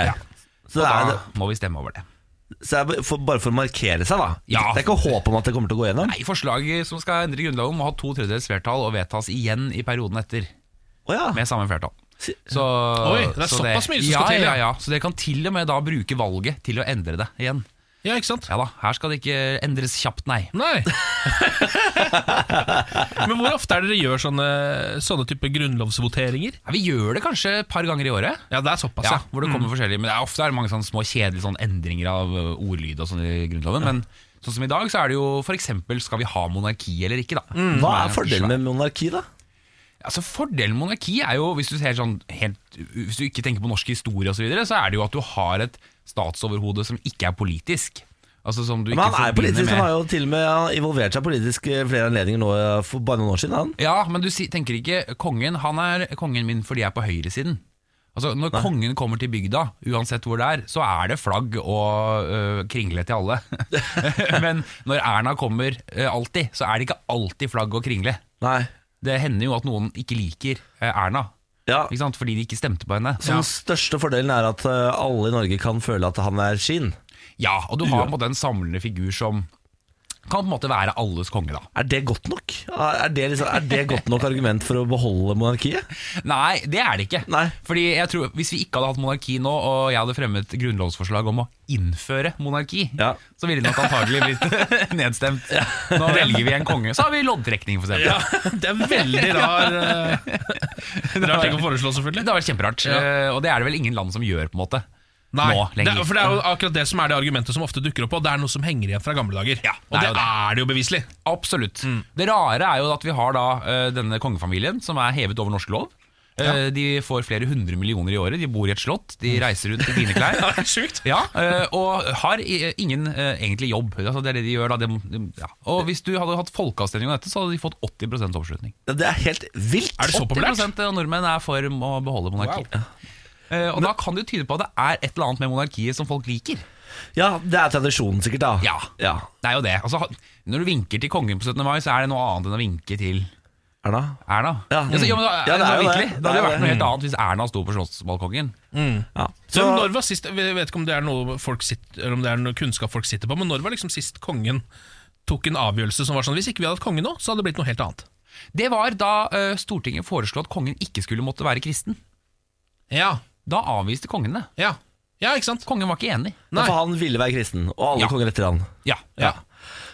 Så
Og
det er,
da må vi stemme over det.
så det er for, bare for å markere seg, da.
Ja.
Det er ikke håp om at det kommer til å gå gjennom?
Nei, Forslaget som skal endre Grunnloven, må ha to tredjedels flertall og vedtas igjen i perioden etter.
Å ja.
Med samme flertall.
Si-
Så,
Oi, det er
så
såpass mye som
ja,
skal til,
Ja,
ja.
ja, Så dere kan til og med da bruke valget til å endre det igjen.
Ja, ikke sant?
Ja da, her skal det ikke endres kjapt, nei.
Nei. Men hvor ofte er dere gjør sånne, sånne type grunnlovsvoteringer?
Ja, vi gjør det kanskje et par ganger i året.
Ja, det er såpass,
Ja, mm.
ja.
hvor det kommer forskjellige Men det er ofte er det mange sånne små kjedelige sånne endringer av ø, ordlyd og sånn i Grunnloven. Men sånn som i dag, så er det jo f.eks.: Skal vi ha monarki eller ikke, da?
Hva er fordelen med monarki, da?
Altså Fordelen med monarki er jo, hvis du, ser sånn, helt, hvis du ikke tenker på norsk historie osv., så, videre, så er det jo at du har et statsoverhode som ikke er politisk. Altså som du
Men han
ikke
er politisk,
forbinder
han har
med
jo til og med han involvert seg politisk eh, flere anledninger nå eh, for bare noen år siden. han
Ja, men du si- tenker ikke kongen han er kongen min fordi jeg er på høyresiden. Altså Når kongen kommer til bygda, uansett hvor det er, så er det flagg og øh, kringle til alle. men når Erna kommer øh, alltid, så er det ikke alltid flagg og kringle.
Nei
Det hender jo at noen ikke liker øh, Erna,
ja.
ikke sant? fordi de ikke stemte på henne.
Så den største fordelen er at eh, alle i Norge kan føle at han er sin.
Ja, og du har på en måte en samlende figur som kan på en måte være alles konge, da.
Er det godt nok? Er er det, liksom, er det godt nok argument for å beholde monarkiet?
Nei, det er det ikke.
Nei.
Fordi jeg tror, Hvis vi ikke hadde hatt monarki nå, og jeg hadde fremmet grunnlovsforslag om å innføre monarki,
Ja.
så ville det nok antagelig blitt nedstemt. Nå velger vi en konge. Så har vi loddtrekning, for eksempel.
Ja, det er veldig rar eh, Rar ting å foreslå,
Det
selvfølgelig.
hadde vært kjemperart. Eh, Og det er det vel ingen land som gjør, på en måte.
Nei,
Nå
det,
lenger.
er- for det er jo akkurat det som er det argumentet som ofte dukker opp, og det er noe som henger igjen fra gamle dager.
Ja, det
og det
er jo det.
er det, jo beviselig.
Absolutt.
Mm.
Det rare er jo at vi har da eh, denne kongefamilien som er hevet over norsk lov. Eh, De får flere hundre millioner i året. De bor i et slott, de reiser rundt i fine klær.
Mm. Det er sjukt.
Ja, eh, og har i- ingen eh, egentlig jobb. Altså, det er det de gjør da. De, de, ja. Og hvis du hadde hatt folkeavstemning om dette, så hadde de fått 80 oppslutning.
Ja, Det er helt vilt!
Er det så populært?
80 av nordmenn er for å beholde monarkiet. Eh, Og da kan det jo tyde på at det er et eller annet med monarkiet som folk liker.
Ja, det er tradisjonen sikkert, da.
Ja.
ja.
Det er jo det. Altså, ha- når du vinker til kongen på 17. mai, så er det noe annet enn å vinke til
Erna?
Erna.
Ja.
Altså, ja, men da,
Ja, det er jo
virkelig,
det.
det hadde
Det er
jo vært
det.
noe helt annet hvis Erna sto på slottsbalkongen.
Ja.
Så
Så,
når var sist, Jeg vet ikke om det er noe folk sitter, eller om det er noe kunnskap folk sitter på, men når var liksom sist kongen tok en avgjørelse som var sånn Hvis ikke vi hadde hatt konge nå, så hadde det blitt noe helt annet.
Det var da eh, Stortinget foreslo at kongen ikke skulle måtte være kristen.
Ja,
Da avviste kongen det.
ja, ja ikke sant?
Kongen var ikke enig.
Nei. For han ville være kristen, og alle
Ja.
konger etter han.
Ja,
Ja.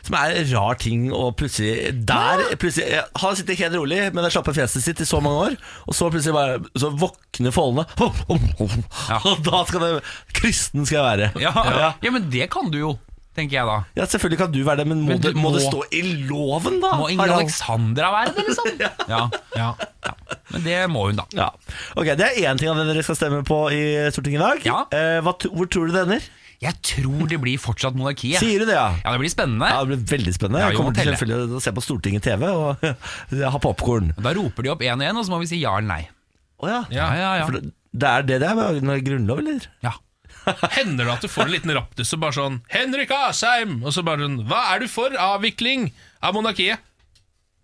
Som er en rar ting å plutselig Der plutselig ja, Han sitter helt rolig med det slappe fjeset sitt i så mange år, og så plutselig bare Så våkner foldene.
Ja.
Og da skal det Kristen skal jeg være.
Ja, ja. men det kan du jo, tenker jeg da.
Ja, Selvfølgelig kan du være det, men må,
Men du
det, må det
må-
stå i loven, da?
Må Ingrid
Harald?
Alexandra være det, liksom? ja.
Ja.
Men det må hun, da.
Ja. Ok, Det er én ting av det dere skal stemme på i Stortinget i dag.
Ja.
Eh, hva, t- hvor tror du det ender?
Jeg tror det blir fortsatt monarkiet.
Sier du det, ja?
Ja, det blir
Ja,
spennende.
Det blir veldig spennende.
Ja, vi
jeg
må
kommer til
telle.
selvfølgelig til å se på Stortinget TV og ha popkorn.
Da roper de opp én og én, og så må vi si ja eller nei.
Å ja.
Ja,
ja, ja.
For det, det er det det er med med grunnlov, eller?
ja.
Hender det at du får en liten raptus og bare sånn 'Henrik Asheim!' Og så bare sånn 'Hva er du for avvikling av monarkiet?'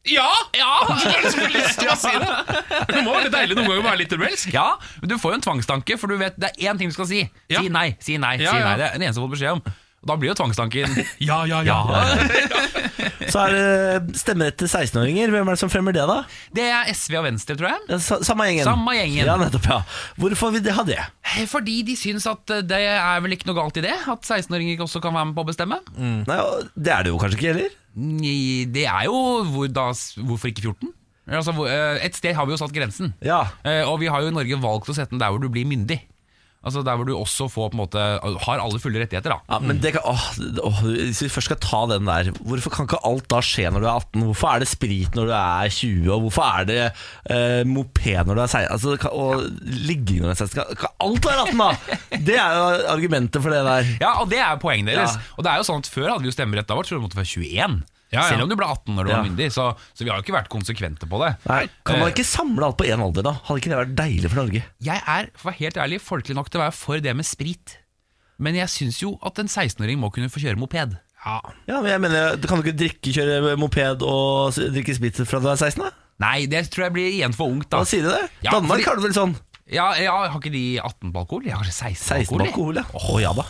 Ja! ja! Du har liksom lyst til å si det. Det må være litt deilig noen ganger å være litt rebelsk.
Ja, men Du får jo en tvangstanke, for du vet det er én ting du skal si.
Ja.
Si nei, si nei,
Ja,
si
ja.
nei. Det er den eneste du har fått beskjed om. Og da blir jo tvangstanken
Ja, ja, ja.
ja.
Så er det stemmerett til 16-åringer. Hvem er det som fremmer det, da?
Det er SV og Venstre, tror jeg.
Ja, sa- samme gjengen.
Samme gjengen.
Ja, nettopp, ja. Hvorfor vil de ha det?
Eh, Fordi de syns at eh, det er vel ikke noe galt i det? At 16-åringer også kan være med på å bestemme?
Nei, og Det er det jo kanskje ikke heller.
Nei, Mm, Det er jo hvor, da, Hvorfor ikke 14? Altså, hvor- eh, et sted har vi jo satt grensen.
Ja.
Eh, Og vi har jo i Norge valgt å sette den der hvor du blir myndig. Altså Der hvor du også får på en måte har alle fulle rettigheter. da
Ja, men det kan, åh, åh, Hvis vi først skal ta den der Hvorfor kan ikke alt da skje når du er 18? Hvorfor er det sprit når du er 20? Og hvorfor er det eh, moped når du er 16? Altså, det kan, og ligging når du er 16? Kan, kan alt være 18, da? Det er jo argumentet for det der.
Ja, og Det er poenget deres.
Ja.
Og det er jo sånn at Før hadde vi jo stemmerett. Da var det måtte være 21.
Ja, ja.
Selv om du ble 18 når du var
Ja.
myndig. Så, så vi har jo ikke vært konsekvente på det.
Nei, kan man
Eh,
ikke samle alt på én alder, da? Hadde ikke det vært deilig for Norge?
Jeg er for å være helt ærlig folkelig nok til å være for det med sprit. Men jeg syns jo at en 16-åring må kunne få kjøre moped.
ja.
Ja, men jeg mener, Du kan jo ikke drikke, kjøre moped og s- drikke sprit fra du er 16? da?
Nei, det tror jeg blir igjen for ungt. da
Hva sier du det?
Ja,
Danmark
fordi-
har det vel sånn?
Ja, ja, Har ikke de 18 på alkohol? Jeg har 16 på
16
alkohol. jeg.
alkohol, ja. Å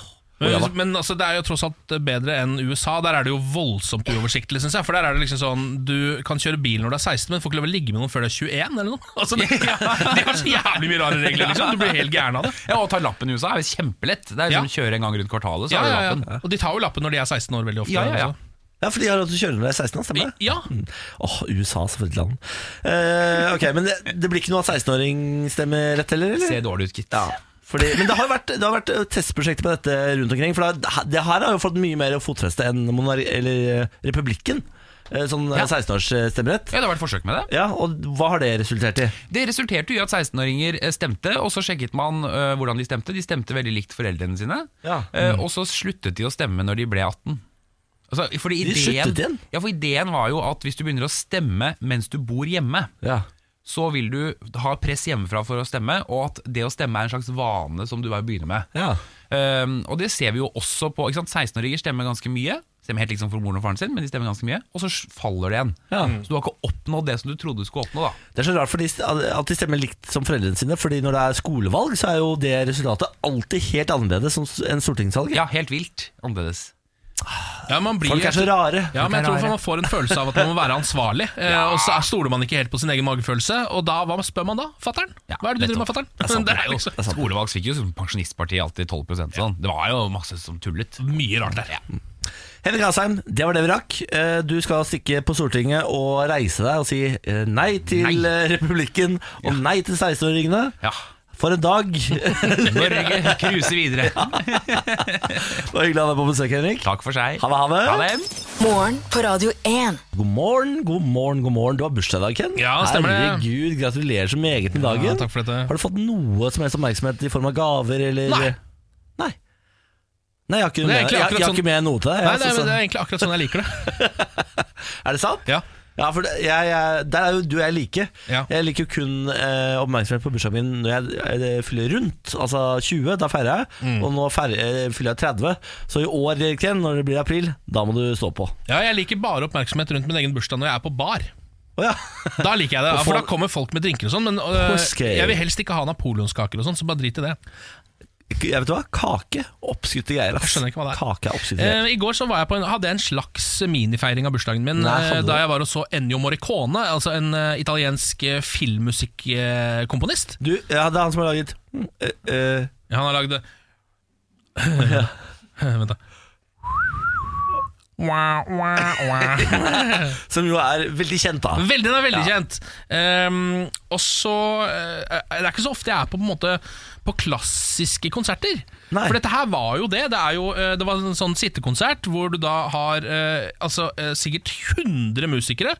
ja da.
Men, men altså, det er jo tross alt bedre enn USA. Der er det jo voldsomt uoversiktlig, synes jeg. For der er det liksom sånn Du kan kjøre bil når du er 16, men får ikke lov å ligge med noen før du er 21, eller noe. Altså, det, de har så jævlig mye rare regler, liksom. Du blir helt gæren av det.
Ja, og å ta lappen i USA er jo kjempelett. Det er
Ja.
liksom Kjøre en gang rundt kvartalet, så
Ja,
har du
ja,
lappen.
ja. Og de tar jo lappen når de er 16 år, veldig ofte.
Ja, ja, ja.
altså.
Ja, for de har lov til å kjøre når de er 16, da, stemmer det?
Ja.
Mm. Åh, USA, så for et land. Eh, ok, Men det, det blir ikke noe av 16-åringsstemmerett heller? eller?
Ser dårlig ut, gitt.
Ja, fordi, men det har jo vært, det har vært eh, testprosjekter på dette rundt omkring. For det, har- det her har jo fått mye mer fotfeste enn monar eller eh, republikken. eh, Sånn eh, 16-årsstemmerett.
Ja, det har vært forsøk med det.
Ja, og hva har det resultert i?
Det resulterte jo i at 16-åringer eh, stemte, og så sjekket man eh, hvordan de stemte. De stemte veldig likt foreldrene sine,
Ja. Mm.
eh, og så sluttet de å stemme når de ble 18. Altså, fordi
De
ideen,
sluttet igjen?
Ja, for ideen var jo at hvis du begynner å stemme mens du bor hjemme,
Ja.
så vil du ha press hjemmefra for å stemme, og at det å stemme er en slags vane som du bare begynner med.
Ja.
Ehm, og det ser vi jo også på ikke sant? 16-åringer stemmer ganske mye. Stemmer helt liksom for moren og faren sin, men de stemmer ganske mye. Og så s- faller det igjen.
Ja.
Så du har ikke oppnådd det som du trodde du skulle oppnå, da.
Det er så rart for de, at de stemmer likt som foreldrene sine. Fordi når det er skolevalg, så er jo det resultatet alltid helt annerledes som- enn stortingsvalget.
Ja, helt vilt annerledes.
Ja, man blir,
Folk er så rare.
Ja, men
Folk
jeg tror
er rare.
man får en følelse av at man må være ansvarlig. eh, Og så er- stoler man ikke helt på sin egen magefølelse. Og da, hva spør man da? Fatter'n?
Ja,
Hva er det du driver med,
nettopp.
fatter'n?
Det er sant,
Det er
det.
liksom
Det er sant. Skolevalg fikk jo som pensjonistpartiet alltid 12 sånn. Det var jo masse som tullet.
mye rart der.
Henrik Asheim, det var det vi rakk. Eh, Du skal stikke på Stortinget og reise deg og si eh, nei til
Nei.
eh, republikken og nei til 16-åringene.
Ja.
For en dag! Det
Norge cruiser videre.
var hyggelig å ha deg på besøk, Henrik.
Takk for seg.
Ha det, ha det.
Ha det.
Morgen på Radio 1.
God morgen, god morgen, god morgen. Du har bursdag i dag, Ken.
Ja, stemmer det.
Herregud, gratulerer så meget med dagen.
Ja, takk for dette.
Har du fått noe som helst oppmerksomhet i form av gaver eller
Nei.
Nei. Nei, jeg har ikke,
Det er
med,
egentlig
jeg,
akkurat
jeg har
sånn-
ikke med noe til deg.
Nei,
jeg,
nei,
så-
men Det er egentlig akkurat sånn jeg liker det.
Er det sant?
Ja.
Ja, for det- jeg, jeg, der er jo du og jeg like.
Ja.
Jeg liker jo kun eh, oppmerksomhet på bursdagen min når jeg, eh, fyller rundt. Altså 20, da feirer jeg.
Mm.
Og nå feirer, eh, fyller jeg 30. Så i år, Erik Tjen, når det blir april, da må du stå på.
Ja, Jeg liker bare oppmerksomhet rundt min egen bursdag når jeg er på bar.
Å ja.
Da liker jeg det,
Og
ja, for
få-
da kommer folk med drinker og sånn. Men øh,
Husker-
jeg vil helst ikke ha napoleonskaker og sånn, så bare drit i det.
Jeg vet du hva? Kake. Oppskutte greier. ass.
Jeg skjønner ikke hva det er.
Kake er oppskutte greier.
Eh, I går så var jeg på en, hadde jeg en slags minifeiring av bursdagen min
Nei,
eh,
hadde du
da
det?
jeg var og så Ennio Morricone, altså en eh, italiensk eh, filmmusikkomponist.
Du, ja, det er han som har laget mm, eh, eh,
Ja, Han har lagd det Vent, da. Wah, wah, wah.
Som jo er veldig kjent, da.
Veldig, den er veldig kjent. Ehm, og så eh, Det er ikke så ofte jeg er på, på, en måte, på klassiske konserter.
Nei.
For dette her var jo det. Det, er jo, eh, det var en sånn sittekonsert hvor du da har eh, altså, eh, sikkert 100 musikere.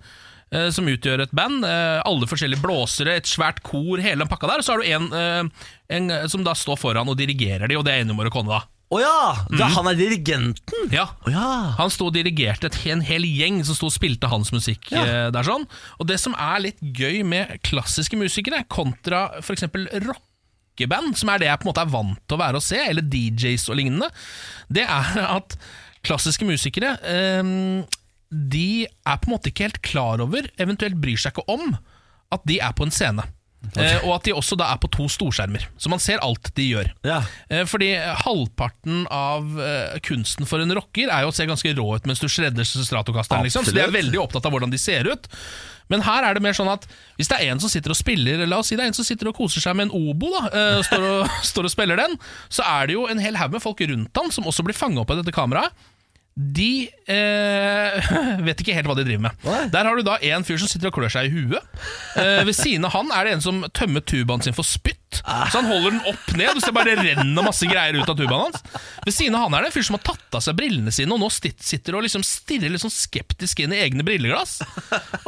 eh, Som utgjør et band. eh, Alle forskjellige blåsere, et svært kor, hele den pakka der. Og så har du en, eh, en eh, som da står foran og dirigerer de, og det er Ennio Morricone, da.
Å ja! Det er han er dirigenten.
Ja.
Mhm. Å ja.
Han sto og dirigerte et, en hel gjeng som sto og spilte hans musikk eh, der sånn. Og det som er litt gøy med klassiske musikere kontra for eksempel rockeband, som er det jeg på en måte er vant til å være å se, eller DJs og lignende, det er at klassiske musikere eh, de er på en måte ikke helt klar over, eventuelt bryr seg ikke om, at de er på en scene. Eh, og at de også da er på to storskjermer, så man ser alt de gjør.
ja.
Eh, Fordi eh, halvparten av eh, kunsten for en rocker er jo å se ganske rå ut mens du shredder Stratocasteren, liksom. Så de er
Absolutt.
veldig opptatt av hvordan de ser ut. Men her er det mer sånn at hvis det er en som sitter og spiller La oss si det er en som sitter og koser seg med en obo, da, eh, står, og, står og spiller den, så er det jo en hel haug med folk rundt han som også blir fanga opp av dette kameraet. De eh, vet ikke helt hva de driver med.
Nei.
Der har du da en fyr som sitter og klør seg i huet. Eh, ved siden av han er det en som tømmer tubaen sin for spytt. Så han holder den opp ned, du ser bare det renner masse greier ut av tubaen hans. Ved siden av han er det en fyr som har tatt av seg brillene sine, og nå stit- sitter og liksom stirrer litt sånn skeptisk inn i egne brilleglass.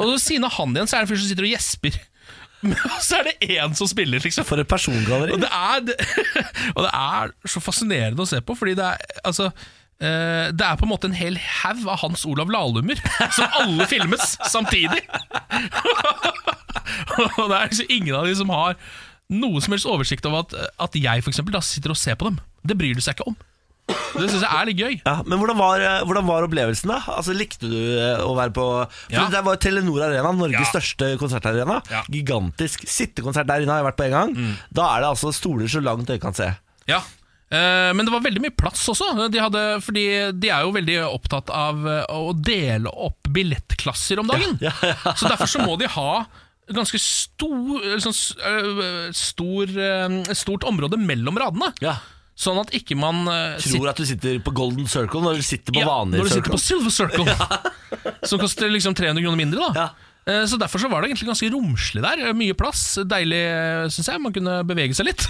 Og ved siden av han igjen så er det en fyr som sitter og gjesper. Og så er det én som spiller, liksom.
For et persongalleri.
Og det er, det- og det er så fascinerende å se på, fordi det er altså eh, det er på en måte en hel haug av Hans Olav Lahlummer som alle filmes samtidig. og det er liksom ingen av de som har noe som helst oversikt over at, at jeg for eksempel, da sitter og ser på dem. Det bryr de seg ikke om. Det syns jeg er litt gøy.
Ja, men hvordan var, eh, hvordan var opplevelsen da? Altså, likte du eh, å være på For
Ja.
Det var Telenor Arena, Norges
Ja.
største konsertarena.
Ja. Mm.
Gigantisk sittekonsert der inne har jeg vært på en gang. Da er det altså stoler så langt øyet kan se.
Ja Eh, Men det var veldig mye plass også, de hadde, fordi de er jo veldig opptatt av eh, å dele opp billettklasser om dagen. Så derfor så må de ha ganske stor, liksom, s- øh, stor, øh, stort område mellom radene.
Ja.
Sånn at ikke man øh,
Tror at du sitter på golden circle når du sitter på
ja,
vanlig
Når du
circle.
sitter på silver circle, som koster liksom 300 kroner mindre. da
Ja.
Eh, Så Derfor så var det egentlig ganske romslig der. Eh, Mye plass. Deilig, syns jeg. Man kunne bevege seg litt.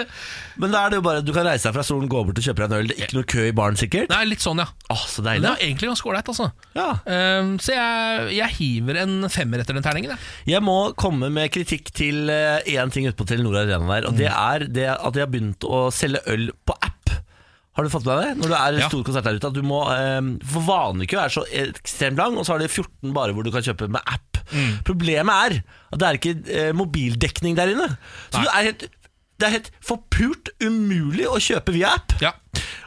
Men da er det jo bare du kan reise deg fra stolen, gå bort og kjøpe deg en øl. Det er ikke noe kø i baren, sikkert.
Nei, litt sånn, ja.
Åh, så
Men
deilig.
det var egentlig ganske ålreit, altså.
Ja.
Eh, så jeg, jeg hiver en femmer etter den terningen. jeg.
Jeg må komme med kritikk til eh, én ting ute på Telenor Arena der, og det
Mm.
er det at de har begynt å selge øl på app. Har du fått med deg det? Når det er en
Ja.
stor konsert der ute. At du må, eh, for vanlig kø er så ekstremt lang, og så har de 14 bare hvor du kan kjøpe med app.
Mm.
Problemet er at det er ikke eh, mobildekning der inne. Så det er, helt, det er helt forpult umulig å kjøpe via app.
Ja.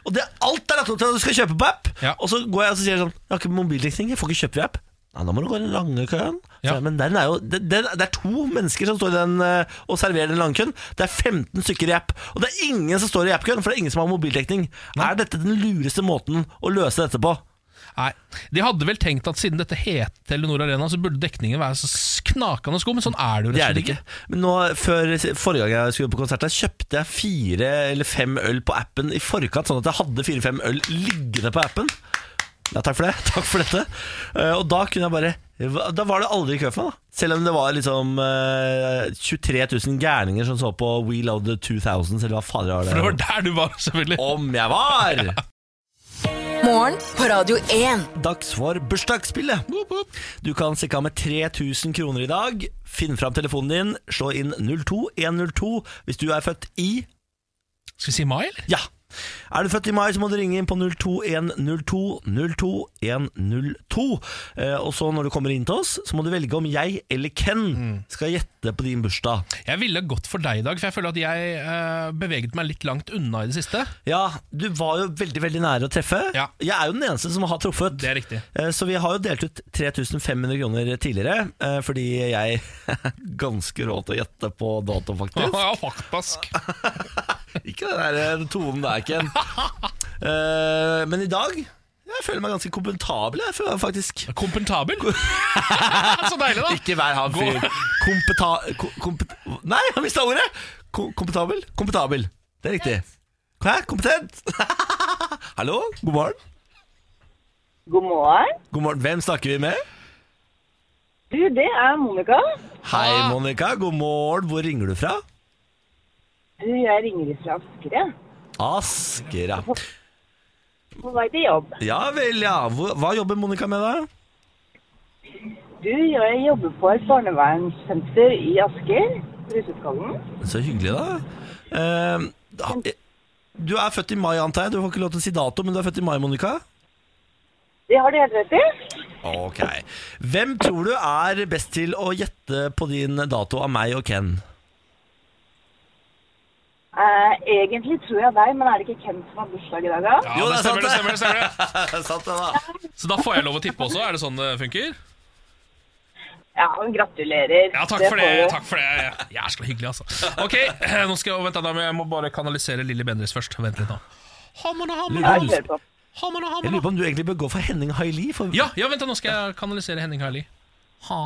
Og det, alt er lagt opp til at du skal kjøpe på app.
Ja.
Og så går jeg og så sier jeg sånn Jeg har ikke mobildekning, jeg får ikke kjøpt via app. Nei, Da må du gå i den lange køen. Så
Ja.
jeg, Men den er jo den, den, Det er to mennesker som står i den eh, og serverer den lange køen. Det er 15 stykker i app. Og det er ingen som står i app-køen, for det er ingen som har mobildekning. Er dette den lureste måten å løse dette på?
Nei, De hadde vel tenkt at siden dette het Telenor Arena, så burde dekningen være så knakende sko, men sånn er det jo
Det
rett
er
og
det
slett
ikke.
ikke.
Men nå, før, Forrige gang jeg skulle på konsert, der, kjøpte jeg fire eller fem øl på appen i forkant, sånn at jeg hadde fire-fem øl liggende på appen. Ja, takk for det. Takk for dette. Eh, og da kunne jeg bare Da var det aldri kø for meg, da. Selv om det var liksom eh, 23 000 gærninger som så på We Love The 2000, eller hva fader var det?
For det var der du var, selvfølgelig.
Om jeg var!
Morgen på Radio 1.
Dags for bursdagsspillet. Du kan stikke av med 3000 kroner i dag. Finn fram telefonen din, slå inn 02102 hvis du er født i
Skal vi si mai, eller?
Ja. Er du født i mai, så må du ringe inn på 02102 02102. Eh, og så når du kommer inn til oss, så må du velge om jeg eller Ken skal gjette på din bursdag.
Jeg ville gått for deg i dag, for jeg føler at jeg eh, beveget meg litt langt unna i det siste.
Ja, du var jo veldig veldig nære å treffe.
Ja.
Jeg er jo den eneste som har truffet.
Det er riktig.
Eh, Så vi har jo delt ut 3500 kroner tidligere, eh, fordi jeg er ganske rå til å gjette på dato, faktisk.
Ja, faktisk.
Ikke den der eh, tonen der, Ken. Eh, men i dag jeg føler meg ganske kompetabel, jeg, føler jeg faktisk.
Kompentabel. så deilig, da.
Ikke vær han fyren. Kompeta... ko- Kompet... Nei, jeg mista ordet! Ko- Kompetabel? Kompetabel. Det er riktig. Hæ? Kompetent? Hallo? God morgen.
God morgen.
God morgen. Hvem snakker vi med?
Du, det er Monica.
Hei, Monica. God morgen. Hvor ringer du fra?
Du, Jeg ringer fra Asker, jeg.
Asker, ja.
På vei til jobb.
Ja vel, ja. Hvor- Hva jobber Monica med, da?
Du, jeg jobber på et barnevernssenter i Asker. Rusetkollen.
Så hyggelig, da. Eh, da- du er født i mai, antar jeg. Du får ikke lov til å si dato, men du er født i mai, Monica.
Det har du helt rett i.
Ok. Hvem tror du er best til å gjette på din dato av meg og Ken?
Eh, egentlig tror jeg deg, men er det ikke Ken som har bursdag i dag, da?
Ja,
Jo,
det
det er sant,
stemmer, det
det.
stemmer, det stemmer.
Sant det, da.
Så da får jeg lov å tippe også? Er det sånn det funker?
Ja, men gratulerer.
Ja, takk for det.
får du.
takk for det Jæskla hyggelig, altså. Ok, eh, nå skal jeg, vent da, da, jeg må bare kanalisere Lilly Bendriss først. Vent litt nå. Hammerne, hammerne,
Ja, jeg kjører på.
hammerne,
Jeg lurer
hammerne.
på om du egentlig bør gå for Henning Haili. For
Ja, ja, vent da, nå skal jeg kanalisere Henning Harli. Ha.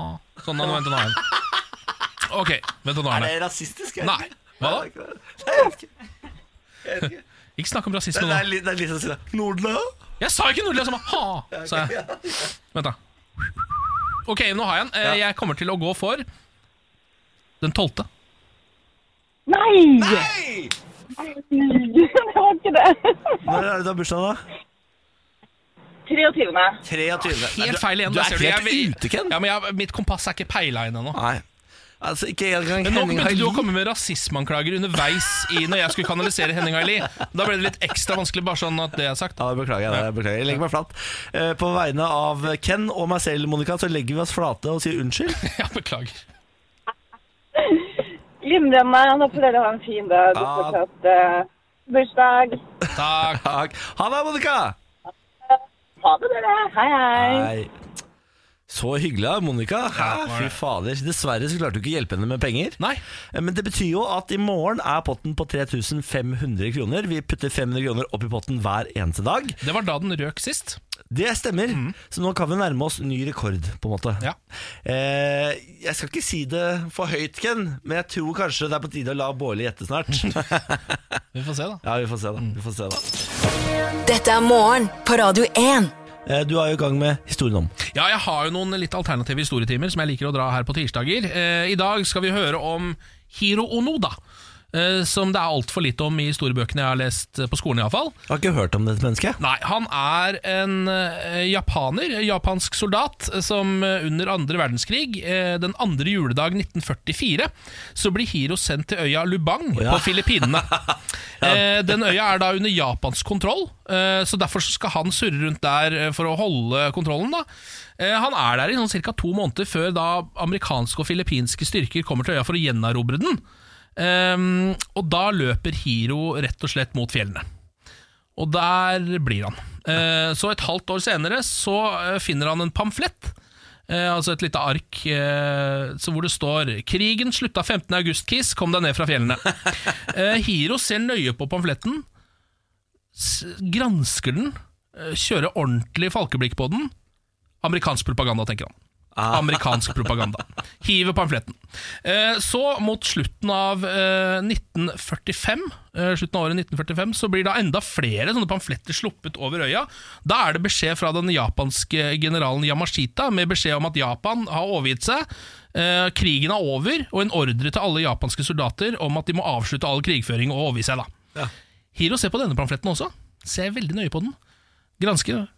Sånn, da, nå vent da, nå er den. Ok, vent da, nå
Er
er
det
den.
rasistisk? eller?
Nei, hva da?
Nei, det er ikke det. Nei, jeg vet ikke.
Ikke snakk om rasisme
Det
nå.
er litt- det er litt sånn å si det. Nordlø?
Jeg sa ikke nordlig, jeg sa bare ha, sa jeg. Vent da. Ok, nå har jeg den. Eh, Jeg kommer til å gå for den tolvte.
Nei! det var ikke det.
Når er det du har bursdag, da?
23.
23. Nei,
Ah, Helt feil igjen.
Du
da
er
ser
helt
Jeg-
ute, Ken.
Ja, men jeg, mitt kompass er ikke peila inn ennå.
Nei. Altså, ikke engang
Men nå
Henning
begynte du å
Haili.
komme med rasismeanklager underveis i når jeg skulle kanalisere Henning Aili. Da ble det litt ekstra vanskelig, bare sånn at det er sagt.
Ja, beklager, jeg, det, beklager. Jeg legger meg flat. Eh, På vegne av Ken og meg selv, Monica, så legger vi oss flate og sier unnskyld.
Ja, beklager.
Glimrende. Nå får dere ha en fin dag. Du
Ja.
fortsatt eh, bursdag.
Takk.
Takk. Ha det, Monica!
Ha det, dere. Hei, hei.
Nei. Så hyggelig av Monica. Hæ?
Ja, var
Fy
det.
fader. Dessverre så klarte du ikke å hjelpe henne med penger. Eh,
Nei.
Men det betyr jo at i morgen er potten på 3500 kroner. Vi putter 500 kroner opp i potten hver eneste dag.
Det var da den røk sist.
Det stemmer. Så nå kan vi nærme oss ny rekord, på en måte.
Mm. Ja.
Eh, jeg skal ikke si det for høyt, Ken, men jeg tror kanskje det er på tide å la Bårli gjette snart.
Vi får se, da.
ja, vi får se, da. Vi får se da.
Dette er morgen på Radio 1.
Eh, du er jo i gang med historien om.
Ja, jeg har jo noen litt alternative historietimer som jeg liker å dra her på tirsdager. Eh, I dag skal vi høre om Hiro Onoda, eh, som det er altfor lite om i historiebøkene jeg har lest eh, på skolen iallfall.
Jeg har ikke hørt om dette mennesket.
Nei, han er en eh, japaner, en japansk soldat, eh, som eh, under andre verdenskrig, eh, den andre juledag 1944, så blir Hiro sendt til øya Lubang
ja.
på Filippinene. Eh, Den øya er da under japansk kontroll, eh, så derfor så skal han surre rundt der eh, for å holde kontrollen. da. Eh, Han er der i sånn ca. to måneder før da amerikanske og filippinske styrker kommer til øya for å gjenerobre den. Eh, Og da løper Hiro rett og slett mot fjellene. Og der blir han. Eh, så et halvt år senere så eh, finner han en pamflett. Eh, altså et lite ark eh, så hvor det står 'Krigen slutta 15. august, Kiss. Kom deg ned fra fjellene'. Eh, Hiro ser nøye på pamfletten, s gransker den, eh, kjører ordentlig falkeblikk på den. Amerikansk propaganda, tenker han. Amerikansk propaganda. Hiver pamfletten. Eh, så mot slutten av eh, 1945 eh, Slutten av året 1945 Så blir da enda flere sånne pamfletter sluppet over øya. Da er det beskjed fra den japanske generalen Yamashita med beskjed om at Japan har overgitt seg. Eh, krigen er over, og en ordre til alle japanske soldater om at de må avslutte all krigføring og overgi seg. da Hiro ser på denne pamfletten også. Ser veldig nøye på den. Gransker.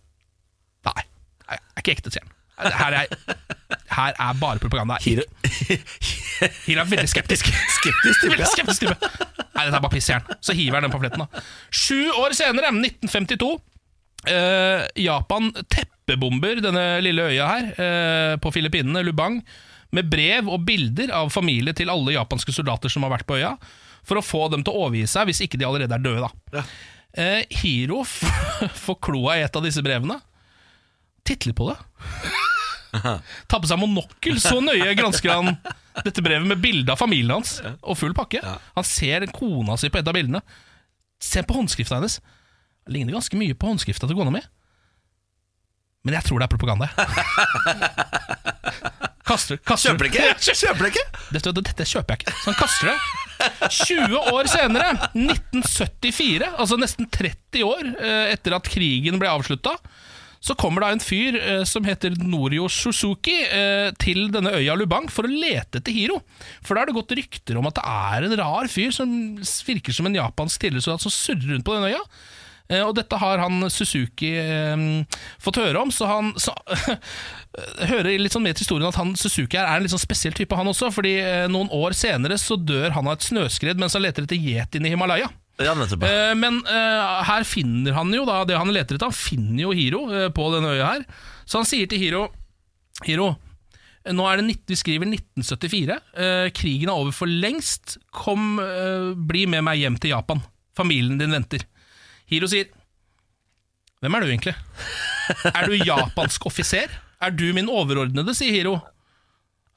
Nei, det er ikke ekte, sier han. Her er, her er bare propaganda.
Hiro
Hiro er veldig skeptisk.
Skeptisk type,
Veldig
ja.
skeptisk type. Nei, dette er bare piss, sier han. Så hiver han den pamfletten. da. Sju år senere, 1952, eh, Japan teppebomber denne lille øya her eh, på Filippinene, Lubang, med brev og bilder av familie til alle japanske soldater som har vært på øya, for å få dem til å overgi seg hvis ikke de allerede er døde. da. Eh, Hiro f- får kloa i et av disse brevene, titter litt på det. Tar på seg monokkel, så nøye gransker han dette brevet med bilde av familien hans og full pakke. Han ser kona si på et av bildene. Se på håndskrifta hennes. Det ligner ganske mye på håndskrifta til kona mi. Men jeg tror det er propaganda. jeg. kaster, kaster.
Kjøper det ikke? Kjøper det ikke?
Dette, dette kjøper jeg ikke. Så han kaster det. 20 år senere, 1974, altså nesten 30 år eh, etter at krigen ble avslutta, så kommer da en fyr eh, som heter Norio Suzuki eh, til denne øya Lubang for å lete etter Hiro. For da har det gått rykter om at det er en rar fyr som virker som en japansk tidligere soldat som surrer rundt på den øya. Eh, Og dette har han Suzuki eh, fått høre om, så han så, hører litt sånn med til historien at han Suzuki her er en litt sånn spesiell type, han også. fordi eh, noen år senere så dør han av et snøskred mens han leter etter yetien i Himalaya.
Ja, nettopp.
Eh, men eh, her finner han jo da det han leter etter. Han finner jo Hiro eh, på denne øya her. Så han sier til Hiro Hiro, nå er det 19, vi skriver 1974. Eh, krigen er over for lengst. Kom, eh, bli med meg hjem til Japan. Familien din venter. Hiro sier Hvem er du egentlig? Er du japansk offiser? Er du min overordnede? sier Hiro.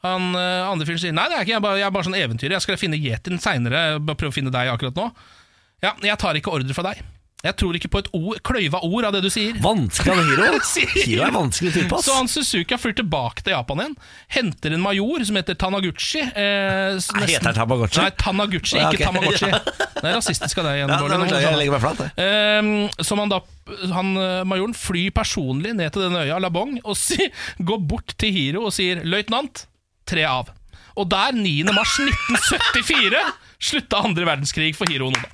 Han eh, andre fyren sier nei, det er ikke jeg, er bare, jeg er bare sånn eventyrer. Jeg skal finne yetien seinere. Prøve å finne deg akkurat nå. Ja, jeg tar ikke ordre fra deg. Jeg tror ikke på et ord, kløyva ord av det du sier.
Vanskelig han Hiro.
Sier-
Hiro er en vanskelig type, ass.
Så han Suzuki har flyr tilbake til Japan igjen, henter en major som heter Tanaguchi. Eh, s-
Nei, heter han Tamagotchi?
Nei, Tanaguchi,
Ja, ok.
ikke Tamagotchi.
Ja.
Det er rasistisk av deg igjen,
Ja,
Bård.
nei,
Nå må du
beklager, jeg
skjønne.
legger meg flat, jeg.
Ehm, som han da han, eh, Majoren flyr personlig ned til denne øya Labong og si, går bort til Hiro og sier 'løytnant, tre av'. Og der, 9. mars 1974, slutta andre verdenskrig for Hiro Noda.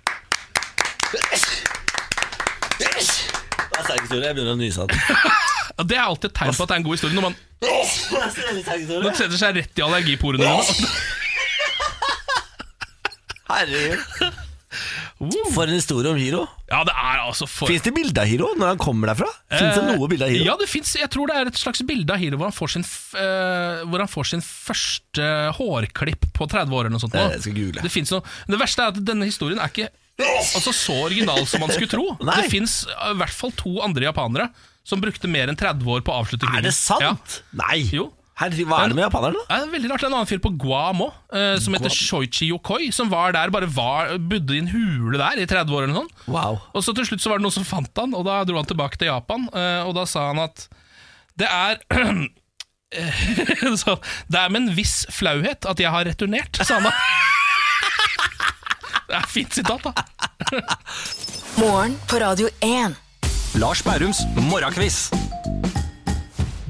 Det er sterk historie. Jeg begynner å nyse av den.
Ja, det er alltid et tegn på at det er en god historie, når man
Det er så veldig sterk historie.
når man setter seg rett i allergiporene. dine.
Herregud. For en historie om Hiro.
Ja, det er altså for
Fins det bilde av Hiro når han kommer derfra? Fins det noe bilde av Hiro?
Eh, Ja, det finnes, jeg tror det er et slags bilde av Hiro hvor han får sin, f- eh, hvor han får sin første hårklipp på 30 år. eller noe sånt. nå.
Eh, jeg skal google.
Det, finnes noe, det verste er at denne historien er ikke altså, så original som man skulle tro.
Nei.
Det fins i hvert fall to andre japanere som brukte mer enn 30 år på å avslutte krigen.
Er det sant? Nei.
Jo.
Herre, hva er det med japanerne, da?
Ja, det er veldig rart, det er en annen fyr på Guam òg, som heter Shoichi Yokoi, som var der, bare var, bodde i en hule der i 30 år eller noe sånt.
Wow.
Og så til slutt så var det noen som fant han, og da dro han tilbake til Japan, eh, og da sa han at det er eh, så, Det er med en viss flauhet at jeg har returnert, sa han da. Det er et fint sitat, da.
Morgen på Radio 1.
Lars Bærums morgenkviss.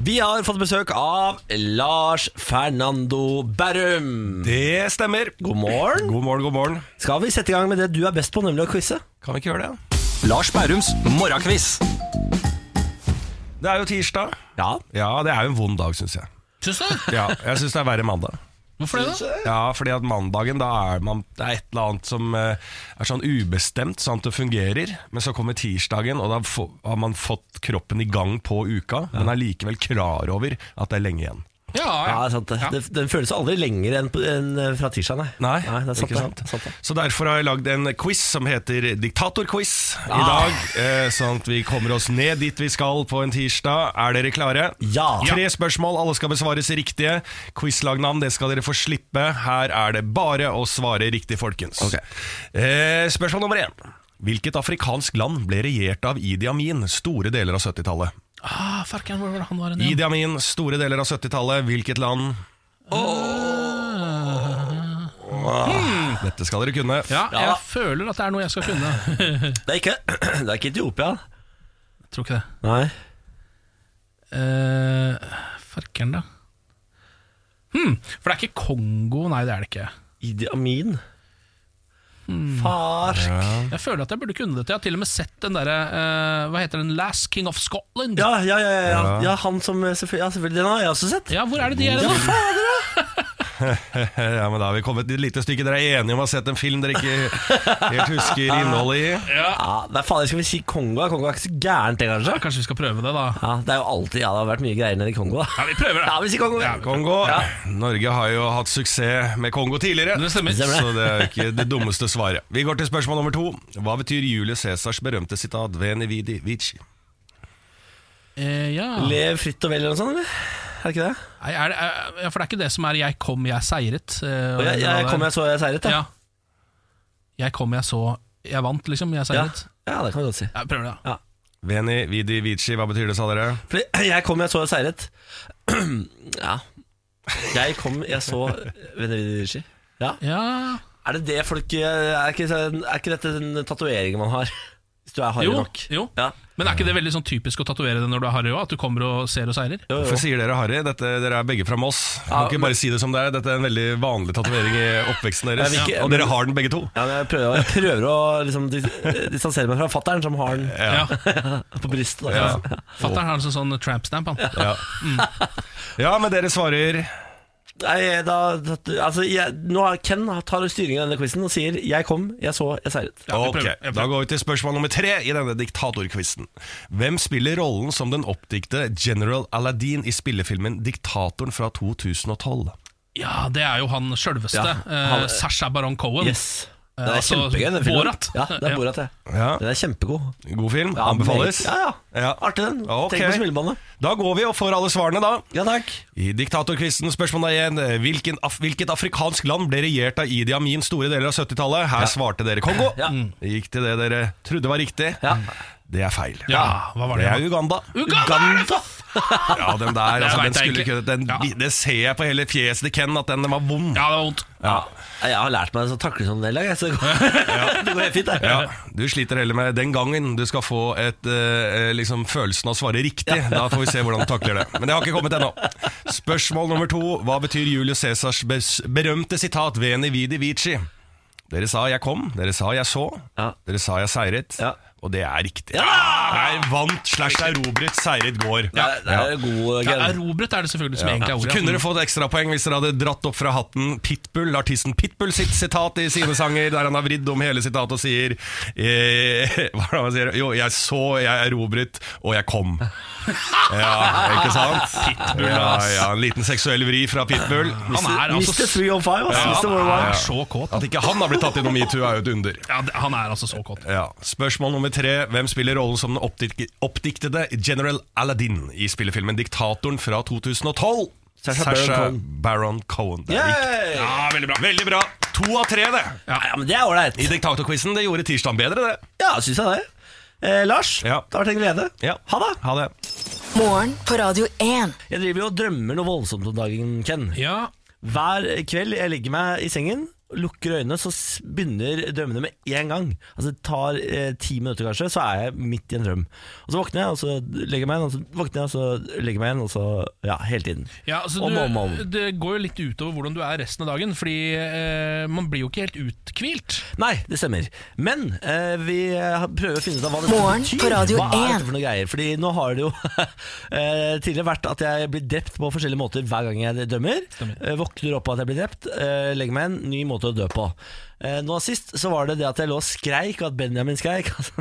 Vi har fått besøk av Lars Fernando Bærum.
Det stemmer.
God morgen.
God morgen, god morgen.
Skal vi sette i gang med det du er best på, nemlig å quize?
Kan vi ikke gjøre det?
Lars Bærums morgenkviss.
Det er jo tirsdag.
Ja.
Ja, det er jo en vond dag, syns jeg.
Syns du? det?
Ja, jeg syns det er verre mandag.
Hvorfor det? da?
Ja, fordi at mandagen, da er man, det er et eller annet som eh, er sånn ubestemt, sånn at det fungerer. Men så kommer tirsdagen, og da få- har man fått kroppen i gang på uka, men er likevel klar over at det er lenge igjen.
Ja,
Ja, det er sant det.
Ja.
Det, den føles aldri lenger enn på- enn eh, fra tirsdag, nei.
Nei,
det er sant,
ikke
det.
sant.
Det er sant det.
Så derfor har jeg lagd en quiz som heter Diktatorquiz i
Ah.
dag. Eh, sånn at vi kommer oss ned dit vi skal på en tirsdag. Er dere klare?
Ja.
Tre spørsmål, alle skal besvares riktige. Quizlagnavn, det skal dere få slippe. Her er det bare å svare riktig, folkens. Eh, spørsmål nummer én. Hvilket afrikansk land ble regjert av Idi Amin store deler av 70-tallet?
Ah, farken, hvor var det han var igjen?
Idi Amin store deler av 70-tallet, hvilket land? Åh. Hmm. Dette skal dere kunne.
Ja, jeg
Ja.
føler at det er noe jeg skal kunne.
Det er ikke, det er ikke Etiopia.
Jeg tror ikke det.
Nei.
Uh, farken, da. Hmm, for det er ikke Kongo, nei det er det ikke.
Idi Amin.
Hmm.
Far
Jeg føler at jeg burde kunne dette. Jeg har til og med sett den derre eh, Hva heter den? Last King of Scotland.
ja, ja, ja, ja, ja. ja, han som eh, selvfølgelig, ja, selvfølgelig Den har jeg også sett.
Ja, hvor er det de er nå?
Ja, men Da har vi kommet et lite stykke. Dere er enige om å ha sett en film dere ikke helt husker innholdet i?
Ja, nei, fader, skal vi si Kongo? Kongo er ikke så gærent, det, kanskje?
Kanskje vi skal prøve det, da.
Ja, det er jo alltid, ja, det har vært mye greier nede i Kongo. Da.
Ja, Vi prøver det.
Ja, vi sier Kongo. Ja,
Kongo. Norge har jo hatt suksess med Kongo tidligere,
Det stemmer.
så det er jo ikke det dummeste svaret. Vi går til spørsmål nummer to. Hva betyr Julius Cæsars berømte sitat 'Veni vidi vici'?
Eh, ja.
Lev fritt og vel eller noe sånt, eller? Er det ikke det?
Nei, er det er, ja, For det er ikke det som er 'jeg kom, jeg seiret'. eh, og
Og jeg,
det
jeg
der.
kom, jeg så, jeg seiret.
ja.
Ja.
Jeg kom, jeg så Jeg vant, liksom. Jeg
Ja.
seiret.
ja, det kan vi godt si.
Ja, vi prøver det, da.
Veni vidi vici, hva betyr det, sa dere?
Fordi jeg kom, jeg så, jeg seiret. ja. Jeg kom, jeg så Venedici. Ja.
Ja.
Er det det folk eh, Er ikke, er ikke dette den tatoveringen man har? Hvis du er harry
Jo,
nok.
jo.
Ja.
Men er ikke det veldig sånn typisk å tatovere det når du er harry òg? At du kommer og ser og seirer?
Jo,
Hvorfor
jo.
sier dere Harry? Dette, dere er begge fra Moss. Kan
Ja,
ikke bare si det som det er. Dette er en veldig vanlig tatovering i oppveksten
Jeg
sånn,
deres.
vil ikke-
Og dere har den begge to.
Ja, men jeg prøver, jeg prøver å liksom, dis- distansere meg fra fattern, som har den
Ja.
på brystet. da.
Ja.
Fatter'n har en sånn, sånn tramp stamp, han.
Ja. ja, men dere svarer
Nei, da, da altså, jeg, Nå har Ken tar styringen av denne quizen og sier 'jeg kom, jeg så, jeg seiret'.
Ja, vi
Ok,
prøver. Jeg prøver.
Da går vi til spørsmål nummer tre i denne diktatorquizen. Hvem spiller rollen som den oppdikte General Aladdin i spillefilmen 'Diktatoren' fra 2012?
Ja, det er jo han sjølveste.
Ja, han-
eh, Sasha Baron Cohen.
Yes. Den er
Altså,
kjempegøy, den filmen.
Borat.
Ja, den er
Ja.
Borat, ja.
Ja,
Den er kjempegod.
God film.
Ja, meget.
Anbefales.
Ja, ja.
Ja.
Artig, den.
Ok.
Tenk på smilebåndet.
Da går vi og får alle svarene, da.
Ja, takk.
I diktatorquizen spørsmål da igjen. Hvilken af hvilket afrikansk land ble regjert av Idi Amin store deler av 70-tallet? Her svarte dere Kongo.
Ja.
Det gikk til det dere trodde var riktig.
Ja.
Det er feil.
Ja, hva var det?
Det er Uganda.
Uganda!
Ja, den der,
Jeg
altså,
vet
den
jeg
skulle
ikke.
ikke den,
Ja.
Det ser jeg på hele fjeset til Ken, at den var vond.
Ja, det var vondt.
Ja. Jeg har lært meg å takle sånn en del ganger, så det går, det går helt fint. Det.
Ja, Du sliter heller med den gangen du skal få et, eh, liksom, følelsen av å svare riktig. Da får vi se hvordan du takler det. Men det har ikke kommet ennå. Spørsmål nummer to. Hva betyr Julius Cæsars bes- berømte sitat 'Veni vidi vici'? Dere sa 'jeg kom', dere sa 'jeg så',
Ja.
dere sa 'jeg seiret'.
Ja.
Og det er riktig. Jeg vant slash erobret seiret går.
Det er, det er god
Ja,
gen.
erobret er det selvfølgelig som egentlig er
Så
ordet.
kunne dere fått ekstrapoeng hvis dere hadde dratt opp fra hatten Pitbull, artisten Pitbull sitt sitat i sine sanger, der han har vridd om hele sitatet og sier eh, Hva er det han sier? Jo, jeg så, jeg erobret, og jeg kom. Ja, ikke sant? Pitbull, ja,
ass.
ja, En liten seksuell vri fra Pitbull.
Han er altså
Mr. 305, ass. Mr.
han
Worldwide.
er så kåt.
At ikke han har blitt tatt i noe metoo, er jo et under.
Ja, det- han er altså så kåt.
Ja. Spørsmål nummer tre. Hvem spiller rollen som den oppdik oppdiktede General Aladdin i spillefilmen 'Diktatoren' fra 2012.
Sacha Baron Cohen.
Baron Cohen. Det er riktig.
Ja, veldig bra.
Veldig bra. To av tre, det.
Ja, men det er ålreit.
I Diktatorquizen. Det gjorde tirsdagen bedre, det.
Ja, syns jeg det. Eh, Lars,
Ja.
det har vært en glede.
Ja.
Ha det.
Ha det.
Morgen på Radio 1.
Jeg driver jo og drømmer noe voldsomt om dagen, Ken.
Ja,
Hver kveld jeg legger meg i sengen, lukker øynene, så s- begynner drømmene med én gang. Altså Det tar eh, ti minutter, kanskje, så er jeg midt i en drøm. Og Så våkner jeg, og så legger jeg meg igjen, og så våkner jeg, og så legger jeg meg igjen, og så Ja, hele tiden.
ja altså
Om og om og
du,
om.
Det går jo litt utover hvordan du er resten av dagen, fordi eh, man blir jo ikke helt uthvilt.
Nei, det stemmer. Men eh, vi eh, prøver å finne ut av hva det
Morgen
betyr.
på Radio
hva er
1.
dette for noen greier? Fordi nå har det jo eh, tidligere vært at jeg blir drept på forskjellige måter hver gang jeg dømmer. Eh, våkner opp av at jeg blir drept, eh, legger meg en ny måte å dø på. Eh, nå sist så var det det at jeg lå og skreik, og at Benjamin skreik. altså,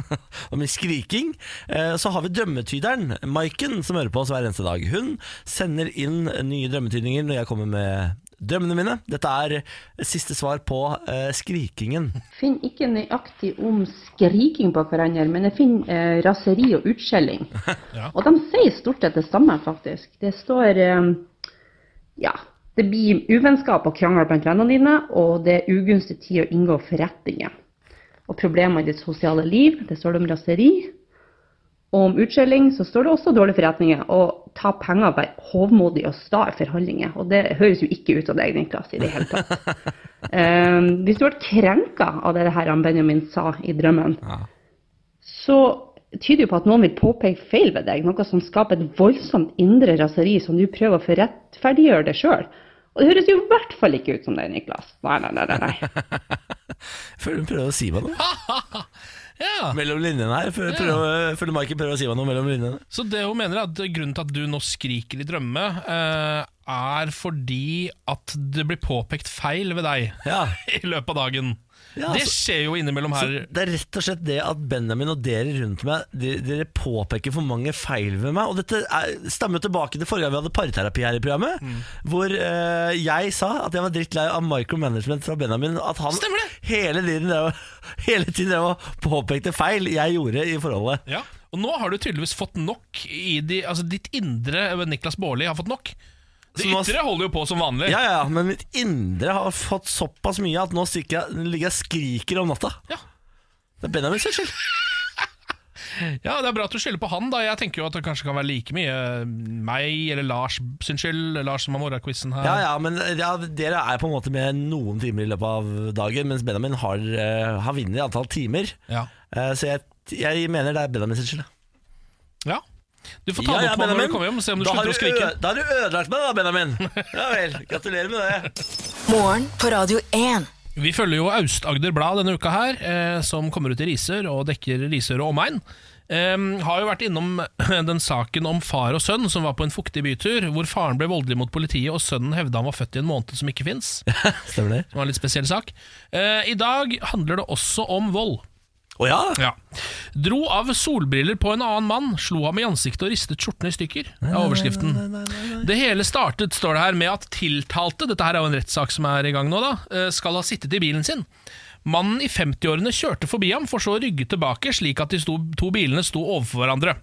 og min skriking. Eh, så har vi drømmetyderen, Maiken, som hører på oss hver eneste dag. Hun sender inn nye drømmetydninger når jeg kommer med drømmene mine. Dette er siste svar på eh, skrikingen.
finner ikke nøyaktig om skriking på hverandre, men jeg finner eh, raseri og utskjelling. Og de sier stort sett det samme, faktisk. Det står eh, ja, det blir uvennskap og krangler blant vennene dine, og det er ugunstig tid å inngå forretninger. Og problemer i ditt sosiale liv, det står det om raseri. Og om utskjelling så står det også dårlige forretninger. Og ta penger ved hovmodige og sta forhandlinger. Og det høres jo ikke ut av deg, Niklas, i det hele tatt. Eh, hvis du ble krenka av det her han Benjamin sa i drømmen, så tyder jo på at noen vil påpeke feil ved deg, noe som skaper et voldsomt indre raseri som du prøver å få rettferdiggjøre deg sjøl. Og det høres jo i hvert fall ikke ut som deg, Niklas. Nei, nei, nei, nei. nei.
Føler hun prøver å si meg noe
Ja,
mellom linjene her. Føler, prøver, føler Maiken prøver å si meg noe mellom linjene.
Så det hun mener er at grunnen til at du nå skriker i drømme, eh, er fordi at det blir påpekt feil ved deg
Ja.
i løpet av dagen.
Ja,
det
altså-
skjer jo innimellom
Så
her.
det er rett og slett det at Benjamin og dere rundt meg Dere, dere påpeker for mange feil ved meg. Og dette er, stammer jo tilbake til forrige gang vi hadde parterapi her i programmet.
Mm.
Hvor eh, jeg sa at jeg var drittlei av micromanagement fra Benjamin. At han
Stemmer det.
hele tiden drev og- hele tiden drev og påpekte feil jeg gjorde i forholdet.
Ja. Og nå har du tydeligvis fått nok i de, altså ditt indre eh, Niklas Baarli har fått nok. Det
Så nå-
ytre holder jo på som vanlig.
Ja, ja, ja, men mitt indre har fått såpass mye at nå stikker jeg, ligger jeg og skriker om natta.
Ja.
Det er Benjamin sin skyld.
Ja, Det er bra at du skylder på han. da Jeg tenker jo at det kanskje kan være like mye eh, meg eller Lars sin skyld. Lars som har morgenquizen her.
Ja, ja, men ja, dere er på en måte med noen timer i løpet av dagen, mens Benjamin har, eh, har vunnet i antall timer.
Ja.
Eh, så jeg, jeg mener det er Benjamin sin skyld. da.
Ja. Du får ta det opp med når du kommer hjem og se om du
da har
slutter å skrike.
ø- Da har du ødelagt meg, da, Benjamin. Ja vel. Gratulerer med det.
Morgen på Radio 1.
Vi følger jo Aust-Agder Blad denne uka her, eh, som kommer ut i Risør og dekker Risør og omegn. Eh, har jo vært innom den saken om far og sønn som var på en fuktig bytur, hvor faren ble voldelig mot politiet og sønnen hevda han var født i en måned som ikke fins. Det
Stemmer det?
var en litt spesiell sak. Eh, I dag handler det også om vold.
Å ja?
Ja. Dro av solbriller på en annen mann, slo ham i ansiktet og ristet skjorten i stykker. er overskriften. Det hele startet, står det her, med at tiltalte Dette her er jo en rettssak som er i gang nå, da. eh, Skal ha sittet i bilen sin. Mannen i 50-årene kjørte forbi ham, for så å rygge tilbake, slik at de sto, to bilene sto overfor hverandre.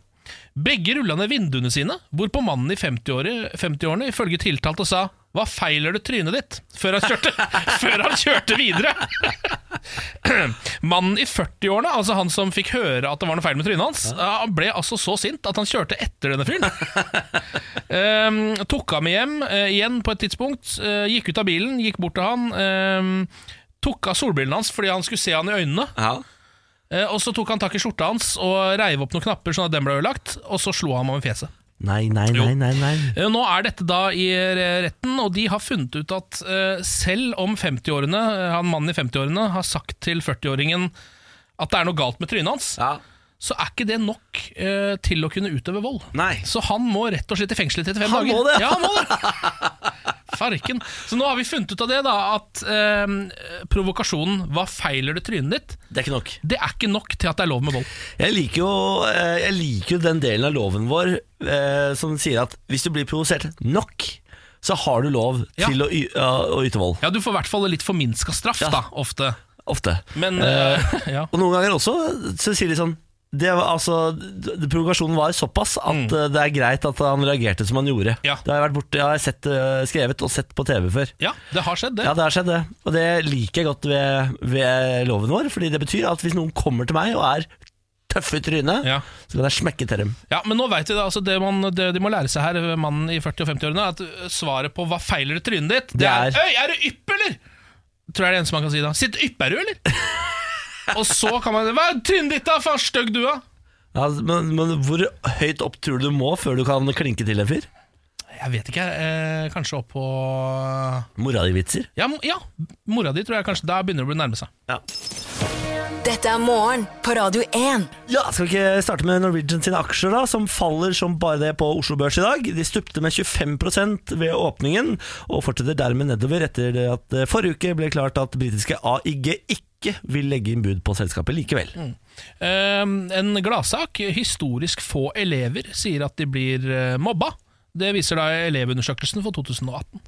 Begge rulla ned vinduene sine, hvorpå mannen i 50-åre- 50-årene ifølge tiltalte sa 'Hva feiler du trynet ditt?' før han kjørte, før han kjørte videre. Mannen i 40-årene, altså han som fikk høre at det var noe feil med trynet hans, han ble altså så sint at han kjørte etter denne fyren. Ehm, tok ham med hjem eh, igjen på et tidspunkt, eh, gikk ut av bilen, gikk bort til han. ehm, tok av solbrillene hans fordi han skulle se han i øynene.
ja.
eh, og så tok han tak i skjorta hans og reiv opp noen knapper, sånn at den ble ødelagt, og så slo han ham i fjeset.
Nei, nei, nei, nei. nei.
Eh, Nå er dette da i eh, retten, og de har funnet ut at eh, selv om 50-årene, eh, han mannen i 50-årene har sagt til 40-åringen at det er noe galt med trynet hans,
Ja.
så er ikke det nok eh, til å kunne utøve vold.
Nei.
Så han må rett og slett i fengsel i 35
Han
dager.
må det, ja.
ja. han må det. Farken. Så nå har vi funnet ut av det, da, at eh, provokasjonen 'hva feiler det trynet ditt',
Det er ikke nok.
det er ikke nok til at det er lov med vold.
Jeg liker jo, eh, jeg liker jo den delen av loven vår eh, som sier at hvis du blir provosert nok, så har du lov
Ja.
til å, y- å- å yte vold.
Ja, du får i hvert fall litt forminska straff,
Ja.
da, ofte.
Ofte.
Men eh, ja.
Og noen ganger også så sier de sånn det var, altså, d- d- provokasjonen var såpass at eh, det er greit at han reagerte som han gjorde.
Mm. Ja.
Det har jeg vært borte, jeg har sett, eh, skrevet og sett på TV før.
Ja, det har skjedd, det.
Ja, det har skjedd det. Og det liker jeg godt ved, ved loven vår, fordi det betyr at hvis noen kommer til meg og er tøffe i trynet,
Ja.
så kan jeg smekke til dem.
Ja, Men nå vet vi det, altså det, man, det de må lære seg her, mannen i 40- og 50-årene, at øh, svaret på 'hva feiler det trynet ditt', det er
Det er-
'Øy, er du ypp, eller?' Tror jeg er det eneste man kan si da. 'Sitt ypp, er du, eller?' og så kan man 'Hva er trynet ditt, da? Faen, stygg du, da?'
Ja, Altså, men, men hvor høyt opp tror du du må før du kan klinke til en fyr?
Jeg vet ikke, eh, kanskje opp på
Mora di vitser.
ja, m- ja, mora di tror jeg kanskje Da begynner det å bli nærme seg.
Dette er morgen på Radio 1.
Ja, Skal vi ikke starte med Norwegian sine aksjer, da, som faller som bare det på Oslo Børs i dag? De stupte med 25 ved åpningen, og fortsetter dermed nedover etter det at det forrige uke ble klart at britiske AIG ikke vil legge inn bud på selskapet likevel.
Eh, en gladsak. Historisk få elever sier at de blir eh, mobba. Det viser da Elevundersøkelsen for 2018.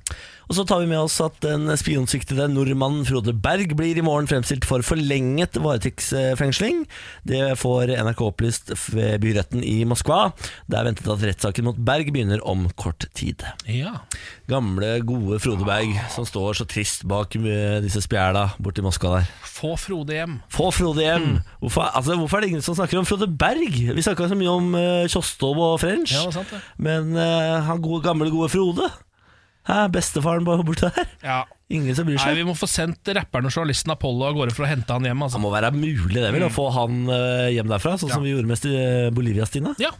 Og så tar vi med oss at den spionsiktede nordmannen Frode Berg blir i morgen fremstilt for forlenget varetektsfengsling. Det får NRK opplyst ved byretten i Moskva. Det er ventet at rettssaken mot Berg begynner om kort tid.
Ja.
Gamle, gode Frode Berg som står så trist bak eh, disse spjæla borti Moskva der.
Få Frode hjem.
Få Frode hjem!
Mm.
Hvorfor, altså, hvorfor er det ingen som snakker om Frode Berg? Vi snakka så mye om eh, Tjostov og French,
Ja, det er sant det.
men eh, han gode, gamle, gode Frode? Hæ, bestefaren bare borte der?
Ja.
Ingen som bryr
Nei,
seg?
Vi må få sendt rapperen og journalisten Apollo av gårde for å hente han hjem.
Det
Altså.
må være mulig det vel,
Mm.
å få han eh, hjem derfra, sånn som vi gjorde med Sti- Bolivia-Stina.
Ja.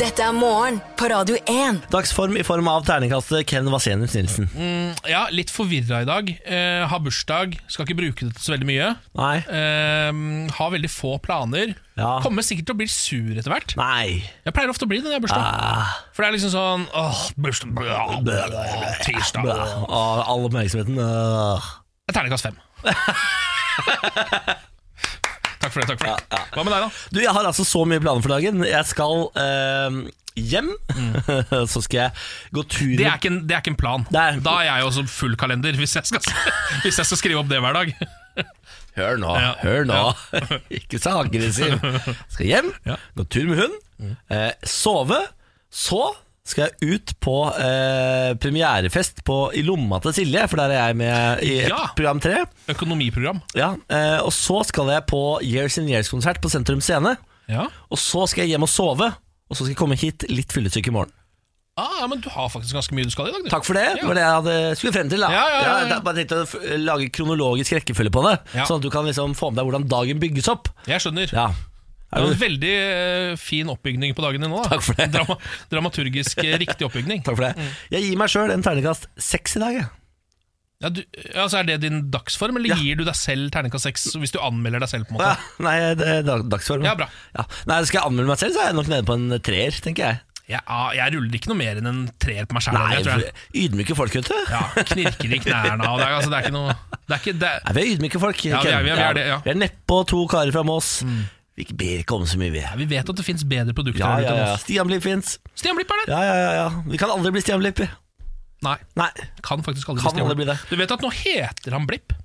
Dette er morgen på Radio 1.
Dagsform i form av terningkastet Ken Vasenius Nilsen.
Mm. Ja, Litt forvirra i dag. Eh, har bursdag, skal ikke bruke det til så veldig mye.
Nei.
Eh, har veldig få planer.
Ja.
Kommer sikkert til å bli sur etter hvert.
Nei.
Jeg pleier ofte å bli det når jeg har bursdag.
Ah.
For det er liksom sånn åh, bursdag, blah, blah, blah, Tirsdag
Bæ.
blah.
Å, All oppmerksomheten. øh.
Terningkast fem. takk for det. takk for det Hva med deg, da?
Du, jeg har altså så mye planer for dagen. Jeg skal eh, hjem. så skal jeg gå tur
Mm. Det er ikke en, det er ikke en plan.
Det er-
Da er jeg også full kalender, hvis jeg skal, hvis jeg skal skrive opp det hver dag.
Hør nå,
Ja.
hør nå. ikke så aggressiv. Skal hjem,
Ja. Mm.
gå tur med hund, eh, sove. Så skal jeg ut på eh, premierefest på, i lomma til Silje, for der er jeg med i
Ja.
program tre.
Økonomiprogram.
Ja, eh, og så skal jeg på Years and Years-konsert på Sentrum Scene.
Ja.
Og så skal jeg hjem og sove, og så skal jeg komme hit litt fyllesyk i morgen.
Ah, ja, men du har faktisk ganske mye du skal i dag. Du.
Takk for det. Det
Ja.
var det jeg hadde skulle frem til. da
Ja, ja, ja, ja.
Jeg hadde bare tenkte å f- lage kronologisk rekkefølge på det,
Ja.
sånn at du kan liksom få med deg hvordan dagen bygges opp.
Jeg skjønner.
Ja,
Det var en veldig eh, fin oppbygning på dagen din nå. Da.
Takk for det.
Drama, dramaturgisk eh, riktig oppbygning.
Takk for det. Jeg gir meg sjøl en terningkast seks i dag. jeg.
Ja, du, altså, er det din dagsform, eller
Ja.
gir du deg selv terningkast seks hvis du anmelder deg selv? på en måte?
Ja, nei, det er dag- dagsform.
Ja, bra.
Ja. Nei, Skal jeg anmelde meg selv, så er jeg nok nede på en treer, tenker jeg.
Jeg, ah, jeg ruller ikke noe mer enn en treer på meg sjæl.
Nei, for- ydmyke folk, vet du.
Ja, knirker i knærne og det er, altså, det er ikke noe det er ikke, det er,
Nei, vi er ydmyke folk.
Ja, vi er-
Ken.
vi er- vi er det, ja. Mm.
Vi er nedpå to karer fra Mås. Vi ber ikke om så mye, vi.
Vi vet at det fins bedre produkter
Ja,
der
ja,
ute enn
ja.
oss.
Stian Blipp fins.
Stian Blipp er det!
Ja, ja, ja, ja. Vi kan aldri bli Stian Blipp. vi.
Nei,
Nei.
kan faktisk aldri
Kan
bli Stian
aldri bli det.
Blipp. Du vet at nå heter han Blipp?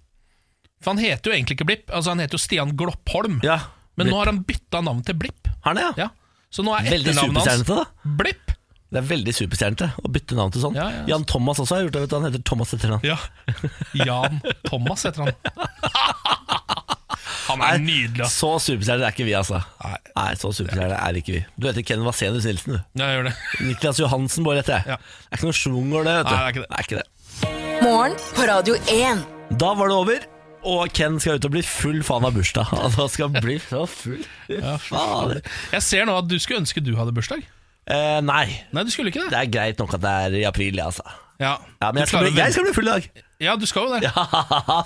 For han heter jo egentlig ikke Blipp, altså han heter jo Stian Gloppholm.
Ja.
Men nå har han bytta navn til Blipp.
Har han det, ja?
Ja. Så nå er
Veldig
etternavnet hans
superstjernete, da.
Blipp.
Det er veldig superstjernete å bytte navn til sånn.
Ja, ja.
Jan Thomas også har gjort det. vet du Han heter Thomas etternavn.
Ja. Jan Thomas heter han. Han er nydelig, ass.
Så superstjerne er ikke vi, altså. Nei, så superstjerne er ikke vi. Du heter Ken Vasenius Nilsen, du.
Ja, jeg gjør det.
Niklas Johansen bare heter jeg.
Ja.
Det er ikke noe schwungor, det. vet du
Nei, det er ikke det.
Morgen på Radio 1.
Da var det over. Og Ken skal ut og bli full faen av bursdag. Altså, han skal bli så full. Fader.
Jeg ser nå at du skulle ønske du hadde bursdag.
Eh, nei,
Nei, du skulle ikke det.
det er greit nok at det er i april, ja, altså.
Ja,
Ja, men
Du
jeg skal,
klarer
bli,
det.
jeg skal bli full i dag.
Ja, du skal jo det.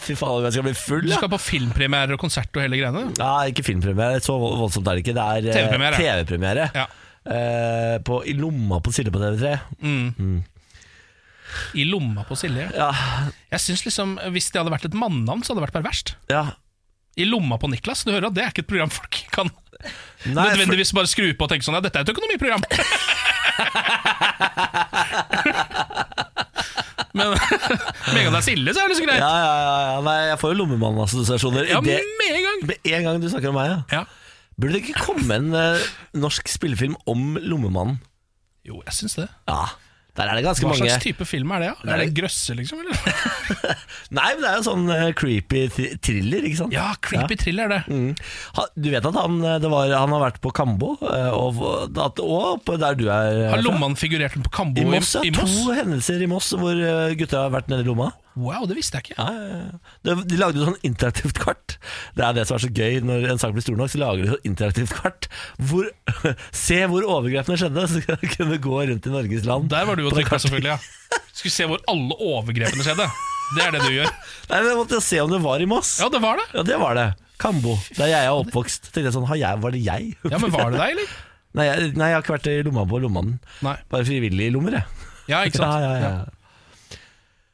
Fy faen, jeg skal bli full.
Du
Ja.
skal på filmpremierer og konsert og hele greiene?
Ja, ikke filmpremiere, så vold- voldsomt er det ikke. Det er eh,
TV-premiere.
TV-premiere.
Ja.
Eh, på, I lomma på Silje på TV3.
I lomma på Silje?
Ja,
Jeg synes liksom, Hvis det hadde vært et mannenavn, så hadde det vært perverst.
ja.
I lomma på Niklas. Du hører at det er ikke et program folk kan
Nei, for,
nødvendigvis bare skru på og tenke sånn Ja, dette er et økonomiprogram! Men med en gang det er Silje, så er det så greit.
ja, ja, ja, ja. Nei, jeg får jo lommemannassosiasjoner.
Ja,
Det-
med en gang!
Med en gang du snakker om meg, ja.
Ja.
Burde det ikke komme en eh, norsk spillefilm om lommemannen?
Jo, jeg syns det.
Ja, der er det ganske
Hva
mange
slags type film er det? da? Er det grøsse, liksom? Eller?
Nei, men det er jo sånn eh, creepy thr- thriller, ikke sant?
Ja, creepy thriller, det.
Mm. Ha, du vet at han, eh, det var, han har vært på Kambo, eh, og, at, og på der du er eh,
Har
fra.
lommene figurert på Kambo
I Moss, ja.
i Moss?
To hendelser i Moss hvor eh, gutta har vært nede i lomma.
Wow, det visste jeg ikke.
Ja, ja, ja. De, de lagde jo sånn interaktivt kart. Det er det som er så gøy når en sak blir stor nok. Så lager de sånn interaktivt kart. Hvor, se hvor overgrepene skjedde, så skal du kunne gå rundt i Norges land.
Der var du og
på det
trykka,
kartet.
selvfølgelig. ja Skulle se hvor alle overgrepene skjedde. Det er det du gjør.
Nei, men Jeg måtte se om det var i Moss.
Ja, det var det.
Ja, det var det. Kambo, der jeg er oppvokst. Tenkte jeg sånn, har jeg, Var det jeg?
Ja, Men var det deg, eller?
Nei, jeg, nei, jeg har ikke vært i lomma på lommemannen.
Nei.
Bare frivillige lommer, jeg.
Ja, ikke sant?
Ja, ja, ja.